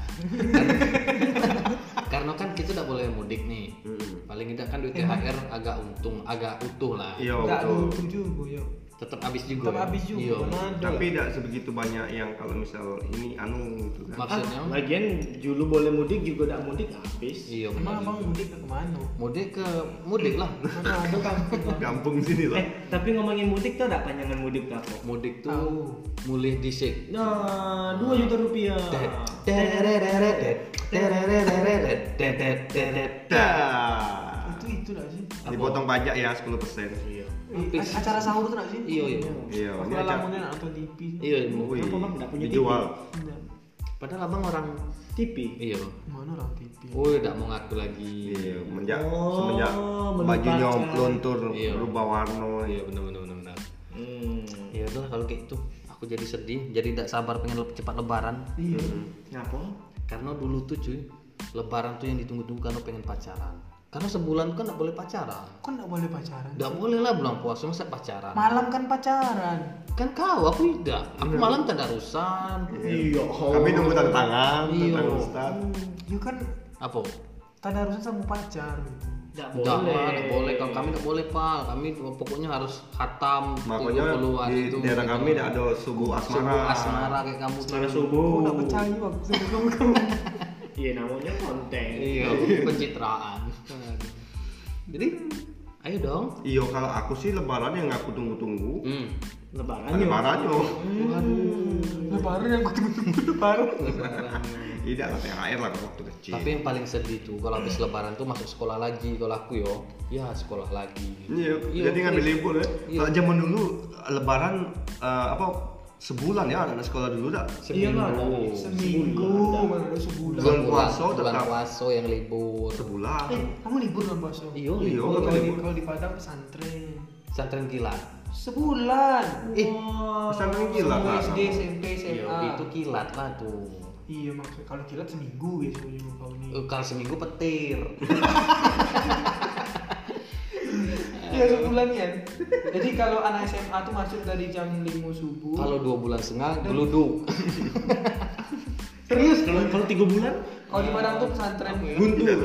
Speaker 3: Karena kan kita tidak boleh mudik nih.
Speaker 1: Mm-mm.
Speaker 4: Iya.
Speaker 3: Paling tidak kan duit THR agak untung, agak utuh lah.
Speaker 1: Iya
Speaker 4: Nggak ada
Speaker 1: betul.
Speaker 4: untung juga, yo.
Speaker 3: tetap habis juga
Speaker 4: Tetap habis juga.
Speaker 3: Iya.
Speaker 4: Mana ada
Speaker 1: tapi tidak sebegitu banyak yang kalau misal ini anu gitu kan
Speaker 3: maksudnya
Speaker 2: Ah, Lagian julu boleh mudik juga tidak mudik habis.
Speaker 3: iya
Speaker 4: lah.
Speaker 3: benar
Speaker 4: Emang abang mudik ke kemana?
Speaker 3: mudik ke mudik lah
Speaker 4: Mana ada kampung kan? Bang.
Speaker 1: kampung sini lah
Speaker 6: Eh, tapi ngomongin mudik tuh ada panjangan mudik tuh apa?
Speaker 3: mudik tuh mulih dhisik
Speaker 6: Nah, 2 juta rupiah.
Speaker 4: Ah.
Speaker 1: dah
Speaker 4: Itu itu nggak sih?
Speaker 1: dipotong pajak ya 10%
Speaker 6: Iya.
Speaker 4: Eh, acara sahur tuh nggak sih?
Speaker 3: Iya, iya.
Speaker 1: Iya,
Speaker 4: Aku
Speaker 1: ini acara-
Speaker 4: lamunnya nonton TV.
Speaker 3: iya
Speaker 1: Wih,
Speaker 6: Kenapa, Bang? Nggak punya
Speaker 1: dijual
Speaker 4: Iya.
Speaker 3: padahal abang orang
Speaker 6: TV.
Speaker 3: iya
Speaker 4: Mana orang TV?
Speaker 3: oh tidak mau ngaku lagi
Speaker 1: iya menjak
Speaker 6: Oh,
Speaker 1: semenjak
Speaker 6: menurut
Speaker 1: bajunya
Speaker 6: pajak.
Speaker 1: lontur
Speaker 3: Iya.
Speaker 1: berubah warna
Speaker 3: iya benar benar benar benar
Speaker 6: Hmm.
Speaker 3: ya udah kalau kayak itu aku jadi sedih jadi tidak sabar pengen le- cepat lebaran
Speaker 4: Iya.
Speaker 6: Ngapa?
Speaker 3: karena dulu tuh cuy lebaran tuh yang ditunggu-tunggu karena pengen pacaran karena sebulan kan nggak boleh pacaran
Speaker 4: Kok nggak boleh pacaran?
Speaker 3: nggak boleh lah bulan puasa masa pacaran
Speaker 4: Malam kan pacaran.
Speaker 3: kan kau aku tidak aku malam tadarusan
Speaker 1: iya kami
Speaker 2: Oh.
Speaker 1: nunggu tanda tangan tanda
Speaker 3: Iya.
Speaker 1: tangan Ustaz.
Speaker 4: You kan
Speaker 3: apa
Speaker 4: tanda urusan sama pacar gitu.
Speaker 6: Nggak
Speaker 3: Nggak lah, nggak boleh kalau kami nggak boleh pal kami pokoknya harus khatam
Speaker 1: makanya
Speaker 3: keluar
Speaker 1: di
Speaker 3: itu,
Speaker 1: daerah
Speaker 3: gitu.
Speaker 1: kami tidak ada subuh asmara
Speaker 3: Subuh asmara kayak kamu tuh
Speaker 6: Suara
Speaker 2: Oh.
Speaker 4: Kok
Speaker 6: subuh.
Speaker 4: nggak percaya waktu itu kamu kamu.
Speaker 6: Iya, namanya konten.
Speaker 3: iya pencitraan jadi ayo dong
Speaker 1: Iya kalau aku sih lebaran yang aku tunggu-tunggu
Speaker 3: hmm.
Speaker 6: Lebaran yuk.
Speaker 1: Lebaran yo
Speaker 4: Lebaran yang aku tunggu lebaran.
Speaker 1: Tidak lah THR lah kalau waktu kecil
Speaker 3: tapi yang paling sedih tuh kalau habis lebaran tuh masuk sekolah lagi kalau aku yo ya sekolah lagi
Speaker 1: Iya,
Speaker 3: Iya,
Speaker 1: jadi ngambil
Speaker 3: iya.
Speaker 1: libur ya.
Speaker 3: Iya.
Speaker 1: Kalau zaman dulu lebaran eh, apa sebulan ya anak-anak sekolah dulu dah.
Speaker 6: Iya lah,
Speaker 3: Seminggu.
Speaker 4: Seminggu, mana ada sebulan.
Speaker 1: Bulan puasa
Speaker 3: bulan
Speaker 1: tetap.
Speaker 3: puasa yang libur
Speaker 1: Sebulan.
Speaker 3: Iya.
Speaker 4: Eh, kamu libur kan puasa?
Speaker 3: iyo
Speaker 1: Iya,
Speaker 3: libur
Speaker 4: Oh, kalau di,
Speaker 1: libur.
Speaker 4: kalau di Padang pesantren.
Speaker 3: pesantren kilat
Speaker 4: Sebulan.
Speaker 3: Ih,
Speaker 1: pesantren kilat lah
Speaker 4: Semua SD,
Speaker 1: sama.
Speaker 4: SMP,
Speaker 3: Iya,
Speaker 4: SMA.
Speaker 3: itu kilat lah tuh
Speaker 4: Iya maksudnya kalau kilat seminggu biasanya kalau ini.
Speaker 1: Hmm.
Speaker 3: Eh, kalau seminggu petir
Speaker 1: Uh.
Speaker 4: Iya sebulan ya. Jadi kalau anak SMA tuh masuk dari jam 5 subuh.
Speaker 3: kalau dua bulan setengah geluduk
Speaker 6: Serius kalau kalau 3 bulan?
Speaker 4: Kalau di Padang tuh pesantren ya.
Speaker 1: Buntu.
Speaker 3: Iya,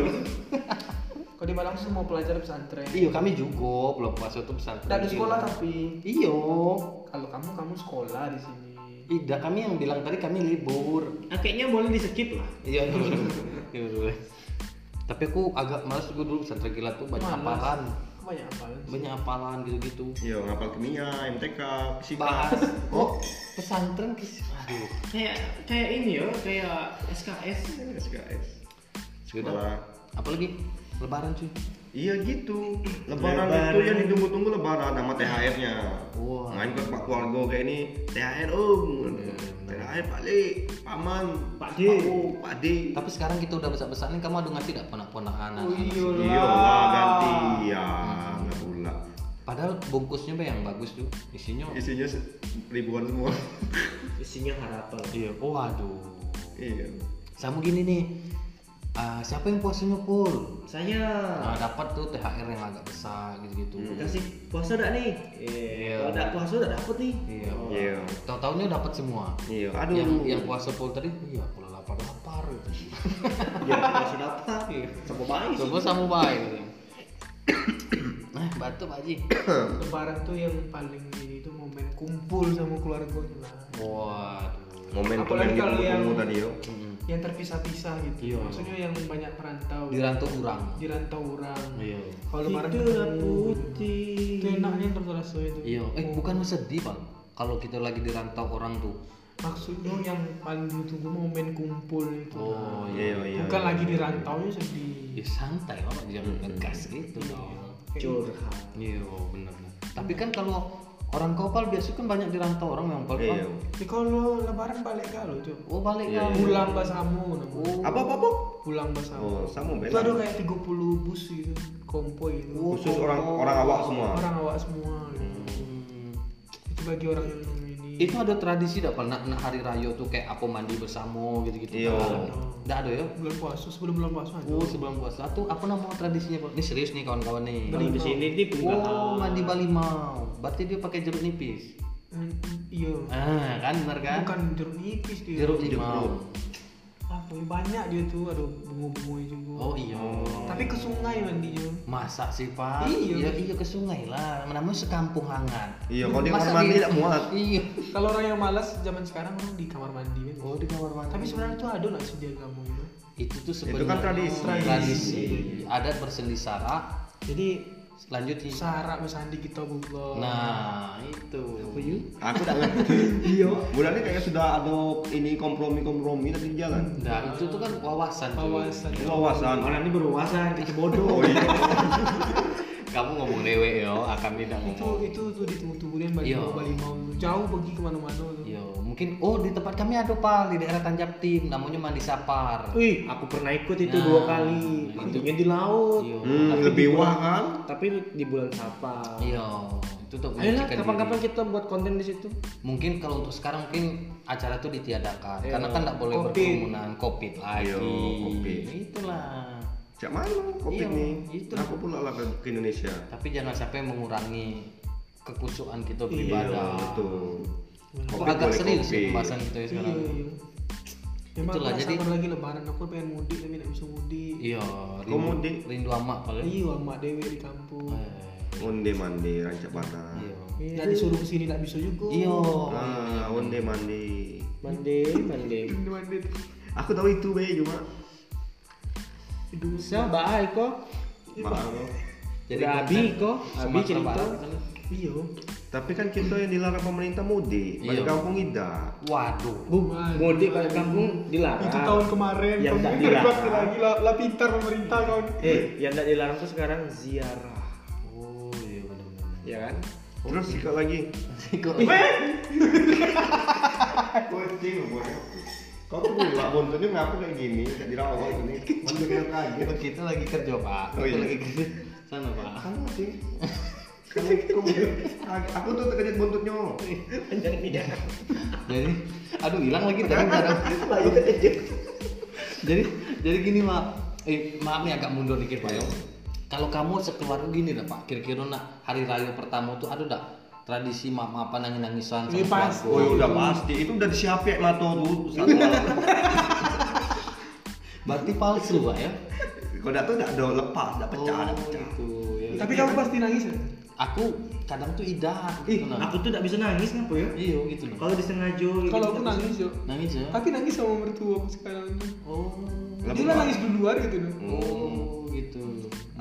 Speaker 4: Kalau di Padang tuh semua pelajar pesantren.
Speaker 3: iyo Iya, kami juga belum puasa tuh pesantren
Speaker 4: Tidak ada
Speaker 3: kilat. Iya.
Speaker 4: sekolah tapi Oh,
Speaker 3: iyo
Speaker 4: kalau kamu kamu sekolah di sini.
Speaker 3: tidak kami yang bilang tadi kami libur
Speaker 6: Nah, kayaknya boleh di skip lah.
Speaker 3: Iya, iya, iya, iya. Tapi aku agak males gue dulu pesantren kilat tuh banyak
Speaker 4: Malas.
Speaker 3: apalan,
Speaker 4: Banyak apalan. sih?
Speaker 3: banyak apalan gitu-gitu.
Speaker 1: Iya, ngapal kimia, MTK, fisika.
Speaker 3: Bahas
Speaker 1: Oh,
Speaker 3: pesantren kis. Aduh.
Speaker 6: Kayak kayak ini ya, kayak
Speaker 1: Iya,
Speaker 6: SKS.
Speaker 1: SKS.
Speaker 3: Sudah.
Speaker 1: Sekolah.
Speaker 3: Apalagi lebaran cuy.
Speaker 1: Iya gitu. Lebaran,
Speaker 6: Lebaran.
Speaker 1: itu yang ditunggu-tunggu lebaran sama THR-nya.
Speaker 3: Wah.
Speaker 1: Main ke Nah, Pak keluarga kayak ini, THR Om. THR Pak Le, Paman,
Speaker 6: Pak D.
Speaker 1: Pak U, Pak D.
Speaker 3: Tapi sekarang kita udah besar-besar nih, kamu ada ngasih tidak ponak-ponakan?
Speaker 4: Oh iya
Speaker 1: Iya lah gantian lah pula.
Speaker 3: Padahal bungkusnya Bay, yang bagus tuh, isinya.
Speaker 1: Isinya se- ribuan semua.
Speaker 6: Isinya harapan.
Speaker 3: Iya. Oh aduh.
Speaker 1: iya.
Speaker 3: Sama gini nih. ah, siapa yang puasanya full?
Speaker 6: Saya
Speaker 3: Nah, dapat tuh THR yang agak besar gitu-gitu.
Speaker 2: Mm,
Speaker 6: kasih puasa dak nih?
Speaker 3: Hmm. Iya.
Speaker 6: Kalau dak puasa dak dapet nih.
Speaker 3: Iya.
Speaker 6: Oh.
Speaker 1: Iya.
Speaker 3: Tahu-tahunya dapat semua.
Speaker 1: Iya. Aduh.
Speaker 3: Yang yang puasa full tadi, iya kalau lapar lapar gitu.
Speaker 6: Ya, puasa dapat.
Speaker 3: Iya.
Speaker 6: Sama baik. sih.
Speaker 3: Coba sama baik. Nah, batuk Pak Ji.
Speaker 4: Lebaran tuh yang paling ini tuh momen kumpul sama keluarganya lah.
Speaker 3: Hmm. Waduh.
Speaker 1: Momen
Speaker 4: Apalagi
Speaker 1: yang
Speaker 4: kalau yang-
Speaker 1: ditunggu-tunggu tadi yo.
Speaker 4: Yang terpisah-pisah gitu.
Speaker 3: Iya.
Speaker 4: Maksudnya yang banyak perantau.
Speaker 3: Di rantau kurang.
Speaker 4: di rantau orang.
Speaker 3: Iya.
Speaker 4: Kalau lebaran
Speaker 6: Tiduran
Speaker 4: ketemu, gitu.
Speaker 6: putih.
Speaker 4: Itu enaknya untuk terasa itu. Oh,
Speaker 3: Iya. Eh, bukan sedih Pak. Kalau kita lagi di rantau orang tuh.
Speaker 4: Maksudnya yang paling ditunggu momen kumpul itu.
Speaker 3: Oh,
Speaker 4: Nah.
Speaker 1: Iya, iya.
Speaker 4: Bukan lagi di rantaunya sedih.
Speaker 3: Ya
Speaker 4: Iya.
Speaker 3: santai Pak,
Speaker 1: Hmm,
Speaker 3: jangan ngegas gitu
Speaker 1: Iya.
Speaker 3: dong.
Speaker 6: curhat.
Speaker 3: Iya, benar. Tapi kan kalau orang kopal biasa kan banyak di rantau orang yang balik.
Speaker 1: Iya.
Speaker 4: Jadi kalau lebaran balik gak lo itu?
Speaker 3: Oh, balik
Speaker 1: Iya,
Speaker 3: ya.
Speaker 1: iya.
Speaker 4: Pulang basamu namanya.
Speaker 3: Oh.
Speaker 1: Apa apa Bu?
Speaker 4: Pulang basamu.
Speaker 1: Oh, sama
Speaker 4: itu ada
Speaker 1: beda.
Speaker 4: kayak 30 bus gitu, kompoi gitu.
Speaker 3: Oh,
Speaker 1: Khusus orang orang awak semua.
Speaker 4: Orang awak semua. gitu.
Speaker 3: Hmm.
Speaker 4: Itu bagi orang yang ini.
Speaker 3: Itu ada tradisi dak pernah nak hari raya tuh kayak apa mandi bersama gitu-gitu.
Speaker 1: Iya.
Speaker 3: Enggak ada ya?
Speaker 4: bulan puasa sebelum bulan puasa aja.
Speaker 3: Oh, sebelum puasa tuh apa nama tradisinya, Pak? Ini serius nih kawan-kawan nih.
Speaker 6: Kalau di sini nih punggahan.
Speaker 3: Oh, mandi balimau. Berarti dia pakai jeruk nipis.
Speaker 4: Mm, Iya.
Speaker 3: Ah, kan benar kan?
Speaker 4: Bukan jeruk nipis dia.
Speaker 3: Jeruk limau.
Speaker 4: apa ya, banyak dia tuh aduh bunga-bunga juga
Speaker 3: Oh iya.
Speaker 4: tapi ke sungai mandi juga
Speaker 3: Masa sih pak? iya,
Speaker 4: Iya.
Speaker 3: iya ke sungai lah. Namanya sekampung hangat.
Speaker 1: Iya, kalau di
Speaker 3: Masa
Speaker 1: kamar mandi
Speaker 3: di-
Speaker 1: tidak muat.
Speaker 3: Iya.
Speaker 4: kalau orang yang malas zaman sekarang orang di kamar mandi kan
Speaker 3: Oh di kamar mandi.
Speaker 4: tapi sebenarnya tuh ada lah sedia kamu gitu
Speaker 3: itu tuh sebenarnya
Speaker 1: Itu kan tradisi.
Speaker 3: tradisi. Adat bersendi sara.
Speaker 4: jadi
Speaker 3: Lanjutin.
Speaker 4: sarak bersandi kita bublok
Speaker 3: Iya. Nah itu.
Speaker 4: apa yuk
Speaker 1: Aku tak ngerti. Iya. Bulan ini kayaknya sudah ada ini kompromi-kompromi tadi di jalan.
Speaker 3: Nah itu tuh kan wawasan. cuy.
Speaker 4: kawasan
Speaker 1: Ini
Speaker 3: Oh,
Speaker 1: wawasan.
Speaker 6: Orang ini berwawasan, kita bodoh.
Speaker 1: Oh iya.
Speaker 3: Kamu ngomong dewe yo, akan tidak
Speaker 4: itu
Speaker 3: ngomong.
Speaker 4: itu tuh ditunggu-tungguin bagi
Speaker 3: Iya.
Speaker 4: mau Bali mau jauh pergi kemana-mana tuh
Speaker 3: Yo, mungkin oh di tempat kami ada pak di daerah Tanjab Tim namanya Mandi Sapar.
Speaker 2: Wih, aku pernah ikut itu
Speaker 3: Nah,
Speaker 2: dua kali.
Speaker 3: itu.
Speaker 2: Mandinya di laut.
Speaker 3: Yo,
Speaker 1: Hmm, lebih wah kan?
Speaker 2: Tapi di bulan apa?
Speaker 3: yo, itu tuh
Speaker 2: Ayolah,
Speaker 3: menyajikan
Speaker 2: kapan-kapan
Speaker 3: diri.
Speaker 2: kita buat konten di situ.
Speaker 3: Mungkin kalau untuk sekarang mungkin acara tuh ditiadakan
Speaker 2: Iya.
Speaker 3: karena kan tidak boleh
Speaker 4: Covid.
Speaker 3: berkerumunan covid lagi. Ya
Speaker 1: Iya, covid.
Speaker 3: Itulah.
Speaker 1: Cak mana kopi
Speaker 3: Iya,
Speaker 1: nih?
Speaker 3: itu.
Speaker 4: gitu.
Speaker 1: Aku pula lah ke ke Indonesia.
Speaker 3: Tapi jangan sampai mengurangi kekusuhan kita beribadah.
Speaker 1: Iya, Betul.
Speaker 3: Kok
Speaker 1: Kopi
Speaker 3: agak
Speaker 1: boleh
Speaker 3: serius
Speaker 1: kopi.
Speaker 3: sih pembahasan kita ya
Speaker 4: iya
Speaker 3: sekarang.
Speaker 4: iya Memang
Speaker 3: Itulah,
Speaker 4: aku
Speaker 3: jadi-
Speaker 4: sabar lagi lebaran aku pengen mudik tapi tidak bisa mudik
Speaker 3: Iya,
Speaker 1: Kok mau di-
Speaker 3: rindu, rindu amat paling.
Speaker 4: iya mak dewe di kampung
Speaker 1: Onde mandi rancak panah.
Speaker 3: Iya.
Speaker 4: Iya, disuruh kesini tidak bisa juga
Speaker 3: Iya.
Speaker 1: Ah, onde mandi.
Speaker 2: Mandi, mandi.
Speaker 4: mandi
Speaker 1: Aku tahu itu be cuma.
Speaker 4: hidung
Speaker 2: Bisa, baik kok.
Speaker 4: Iya.
Speaker 1: Maaf.
Speaker 3: Jadi
Speaker 2: Udah
Speaker 3: konten
Speaker 2: Abi kok, Abi
Speaker 3: Sumatera
Speaker 2: cerita.
Speaker 3: Barat kan.
Speaker 4: iya
Speaker 1: Tapi kan kita yang dilarang pemerintah mudik, balik
Speaker 3: Iya.
Speaker 1: kampung tidak.
Speaker 3: Waduh.
Speaker 4: Bu,
Speaker 2: Mudik balik kampung dilarang.
Speaker 4: itu tahun kemarin
Speaker 2: Yang
Speaker 4: kamu
Speaker 2: tak
Speaker 4: terbuat
Speaker 2: dilarang.
Speaker 4: lagi lah lah pintar pemerintah kawan
Speaker 2: Eh, yang tidak dilarang tuh sekarang ziarah.
Speaker 3: Oh iya benar-benar.
Speaker 2: Ya kan?
Speaker 1: Terus sikap lagi.
Speaker 3: Kok
Speaker 1: Kucing gue. Kau tuh pula bontonnya ngaku kayak gitu gini, jadi rawat ini. Mana kena kaget.
Speaker 3: kita lagi kerja pak.
Speaker 1: Oh,
Speaker 3: Kita
Speaker 1: iya.
Speaker 3: lagi kerja. Sana pak.
Speaker 1: Kamu sih. Kamu kamu aku tuh terkejut buntutnya.
Speaker 2: Panjang ini ya.
Speaker 3: Jadi, aduh hilang lagi tadi kadang.
Speaker 2: Lagi kejadian.
Speaker 3: jadi, jadi gini pak. Eh, maaf nih agak mundur dikit pak. ya. Kalau kamu sekeluarga gini dah pak. Kira-kira nak hari raya pertama tuh ada dah tradisi maaf apa nangis nangisan
Speaker 4: Iya, pasti.
Speaker 1: Oh, ya udah pasti, itu udah disiapin mato tuh. Satu malam.
Speaker 3: Berarti palsu pak ya?
Speaker 1: Kau dah tuh dah dah lepas, dah pecah,
Speaker 3: Oh,
Speaker 1: dah pecah.
Speaker 3: Itu, ya.
Speaker 4: tapi kamu pasti nangis ya
Speaker 3: Aku kadang tuh idah.
Speaker 6: Ih,
Speaker 3: Gitu, nah.
Speaker 6: aku tuh tidak bisa nangis ngapa ya?
Speaker 3: Iya gitu loh.
Speaker 6: Kalau disengaja gitu.
Speaker 4: kalau aku nangis yo
Speaker 3: Nangis ya?
Speaker 4: tapi nangis sama mertua aku sekarang ini
Speaker 3: Oh.
Speaker 4: dia lah nangis duluan gitu loh
Speaker 3: Oh gitu.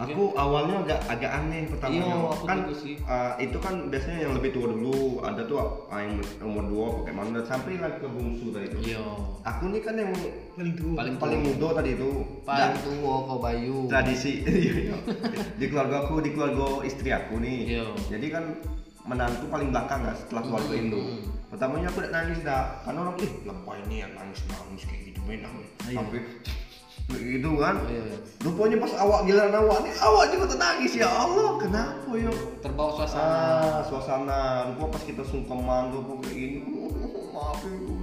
Speaker 1: Aku awalnya agak agak aneh pertamanya.
Speaker 3: Iya, aku
Speaker 1: kan
Speaker 3: juga sih.
Speaker 1: eh, itu kan biasanya yang lebih tua dulu, ada tuh ah, yang nomor dua pakai mana sampai lagi ke bungsu tadi itu.
Speaker 3: Iya.
Speaker 1: Aku nih kan yang
Speaker 4: paling tua
Speaker 3: Paling
Speaker 1: paling muda tadi itu.
Speaker 3: Paling tua oh, kau Bayu.
Speaker 1: Nah, tradisi Iya, iya. di keluarga aku, di keluarga istri aku nih.
Speaker 3: Iya.
Speaker 1: Jadi kan menantu paling belakang lah setelah keluarga Indo. Pertamanya aku udah nangis dah, karena orang ih lemah ini yang nangis nangis kayak gitu benar. Sampai kayak gitu kan.
Speaker 3: Ah, Iya, iya.
Speaker 1: Rupanya pas awak giliran awak nih, awak juga tuh nangis ya Allah, kenapa yo?
Speaker 3: Terbawa suasana.
Speaker 1: Ah, suasana. Rupanya pas kita sungkeman tuh aku kayak gini. Maaf ya.
Speaker 3: Oh,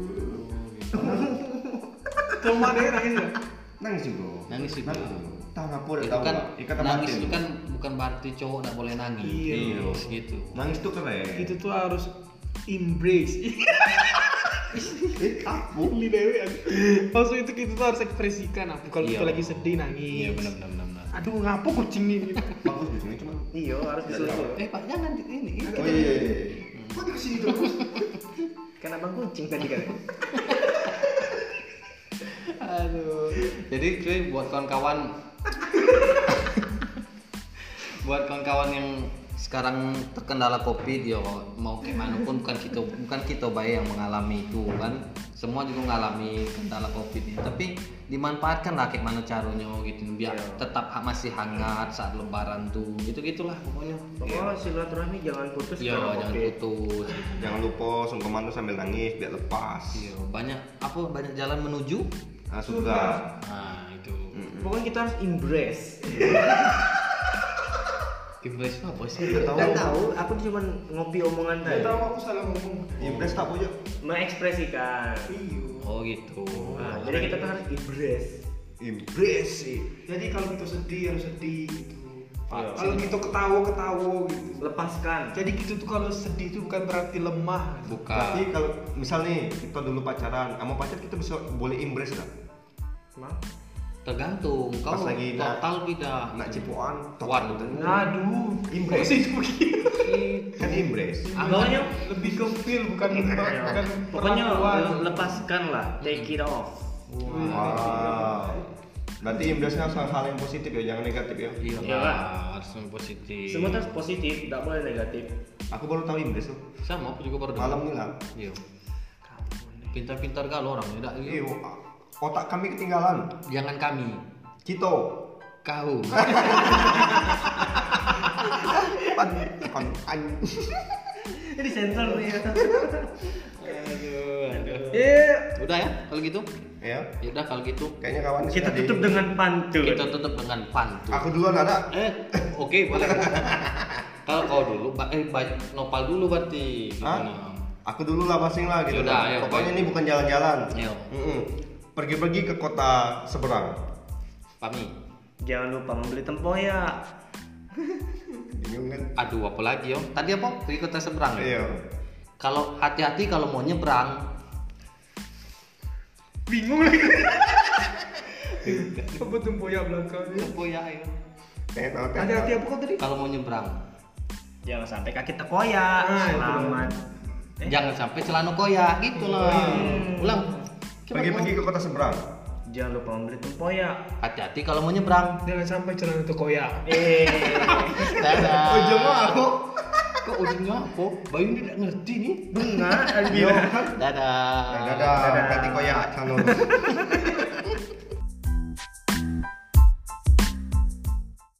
Speaker 3: gitu.
Speaker 4: teman dia nangis ya
Speaker 1: Nangis juga.
Speaker 3: Nangis juga.
Speaker 1: Tahu apa udah
Speaker 3: itu
Speaker 1: tahu.
Speaker 3: kan
Speaker 1: lah. Ikatan
Speaker 3: nangis
Speaker 1: batin.
Speaker 3: itu kan bukan berarti cowok nggak boleh nangis.
Speaker 4: Iya.
Speaker 3: Gitu.
Speaker 1: Nangis tuh keren.
Speaker 4: itu tuh harus embrace
Speaker 1: Eh, aku.
Speaker 4: Ini dewe aku. maksud itu kita tuh harus ekspresikan apa kalau
Speaker 3: Iya.
Speaker 4: kita lagi sedih nangis
Speaker 3: Iya benar benar benar, benar.
Speaker 4: aduh ngapa kucing ini
Speaker 1: Bagus di sini cuma.
Speaker 2: Iya, harus disusul.
Speaker 3: Eh Pak jangan di- ini. ini.
Speaker 1: Oh iya iya. iya.
Speaker 4: Hmm.
Speaker 1: Kok di sini terus?
Speaker 2: Karena Eh, bang kucing tadi kan.
Speaker 3: Aduh. Jadi cuy buat kawan-kawan buat kawan-kawan yang sekarang terkendala covid yo mau kayak mana pun bukan kita bukan kita baik yang mengalami itu kan semua juga mengalami kendala covid ini tapi dimanfaatkan lah kayak mana caranya gitu biar tetap ha- masih hangat saat lebaran tuh gitu gitulah pokoknya
Speaker 2: Pokoknya silaturahmi Iya, jangan putus
Speaker 3: yo
Speaker 2: karena
Speaker 3: Iya, jangan
Speaker 2: Covid.
Speaker 3: putus
Speaker 1: Jangan lupa sungkeman tuh sambil nangis biar lepas.
Speaker 4: Iya.
Speaker 3: yo iya. banyak apa banyak jalan menuju
Speaker 1: Nah, suka.
Speaker 3: nah itu
Speaker 2: Pokoknya kita harus embrace.
Speaker 3: Impress apa sih
Speaker 1: Nggak tahu.
Speaker 2: Gak tahu, aku cuma ngopi omongan
Speaker 4: Gak
Speaker 2: tadi.
Speaker 4: tahu aku salah ngomong
Speaker 1: Nah, iya.
Speaker 4: Iya.
Speaker 1: Impress tak ya? punya.
Speaker 2: Mengekspresikan.
Speaker 3: oh gitu
Speaker 2: Nah, jadi kita tuh harus embrace.
Speaker 1: Impress sih.
Speaker 4: jadi kalau kita sedih harus sedih gitu
Speaker 2: Iya.
Speaker 4: Iya. kalau kita ketawa ketawa gitu
Speaker 2: Lepaskan.
Speaker 4: jadi gitu tuh kalau sedih itu bukan berarti lemah
Speaker 3: buka
Speaker 1: Berarti kalau misal nih kita dulu pacaran, sama pacar kita bisa boleh impress kan?
Speaker 2: Emang?
Speaker 3: tergantung kau
Speaker 1: Pas lagi Nah, nak-
Speaker 3: total tidak
Speaker 1: nak
Speaker 4: Iya.
Speaker 1: cipuan
Speaker 3: Waduh.
Speaker 6: Aduh,
Speaker 1: Impress.
Speaker 6: sih itu begini.
Speaker 1: kan impress
Speaker 2: Ah,
Speaker 4: Pokoknya lebih ke feel bukan
Speaker 3: Iya.
Speaker 4: bukan
Speaker 6: Pokoknya
Speaker 4: perlakuan.
Speaker 6: lepaskan lah, take it off.
Speaker 1: wow berarti impressnya salah hal yang positif ya jangan negatif ya
Speaker 3: iya
Speaker 6: Iya,
Speaker 3: lah,
Speaker 6: Kak.
Speaker 3: harus yang positif
Speaker 6: Semua harus positif, tidak boleh negatif.
Speaker 1: aku baru tahu impress tuh
Speaker 3: sama aku juga baru dengar.
Speaker 1: malam ini lah
Speaker 3: iya pintar-pintar kalau orang tidak iya.
Speaker 1: Eh, o- otak kami ketinggalan
Speaker 3: jangan kami
Speaker 1: Cito
Speaker 3: kau
Speaker 1: pan pan an
Speaker 2: Ini sensor nih. Iya.
Speaker 4: Eh,
Speaker 3: udah ya kalau gitu
Speaker 1: ya
Speaker 3: ya udah kalau gitu
Speaker 1: kayaknya kawan
Speaker 2: Kita
Speaker 1: sudah di-
Speaker 2: tutup dengan pantun.
Speaker 3: kita tutup dengan pantun
Speaker 1: aku duluan ada
Speaker 3: eh oke boleh kalau kau dulu ba- eh ba- nopal dulu berarti
Speaker 1: Hah?
Speaker 3: Gimana?
Speaker 1: aku dulu lah basing lah
Speaker 3: Iya,
Speaker 1: gitu
Speaker 3: Yaudah, ayo, Iya.
Speaker 1: pokoknya
Speaker 3: ayo.
Speaker 1: ini bukan jalan-jalan
Speaker 3: Ayo.
Speaker 1: Mm-mm. pergi-pergi ke kota seberang
Speaker 3: pami
Speaker 2: Jangan lupa membeli tempoyak.
Speaker 1: bingung kan
Speaker 3: aduh apa lagi yo tadi apa pergi kota seberang ya?
Speaker 1: iya
Speaker 3: kalau hati-hati kalau mau nyebrang eh,
Speaker 4: apa tuh boya belakang?
Speaker 3: ya ayo
Speaker 1: tenang
Speaker 4: Hati-hati
Speaker 1: tenang
Speaker 4: apa kau tadi?
Speaker 3: kalau mau nyebrang
Speaker 2: Jangan sampai kaki terkoyak.
Speaker 4: Ah, itu
Speaker 2: Selamat. Eh?
Speaker 3: jangan sampai celana koyak gitu lah ulang Coba
Speaker 1: pergi-pergi ke kota seberang
Speaker 2: Jangan lupa membeli tempoyak.
Speaker 3: ulang. hati-hati kalau mau nyebrang
Speaker 4: Jangan sampai celana itu koyak.
Speaker 2: Eh,
Speaker 3: dadah
Speaker 1: Ujungnya aku.
Speaker 3: kok ujungnya aku bayu ini tidak ngerti nih
Speaker 2: bunga.
Speaker 1: yo
Speaker 3: dadah
Speaker 1: dadah
Speaker 2: Dadah.
Speaker 1: ya. berarti koyak calon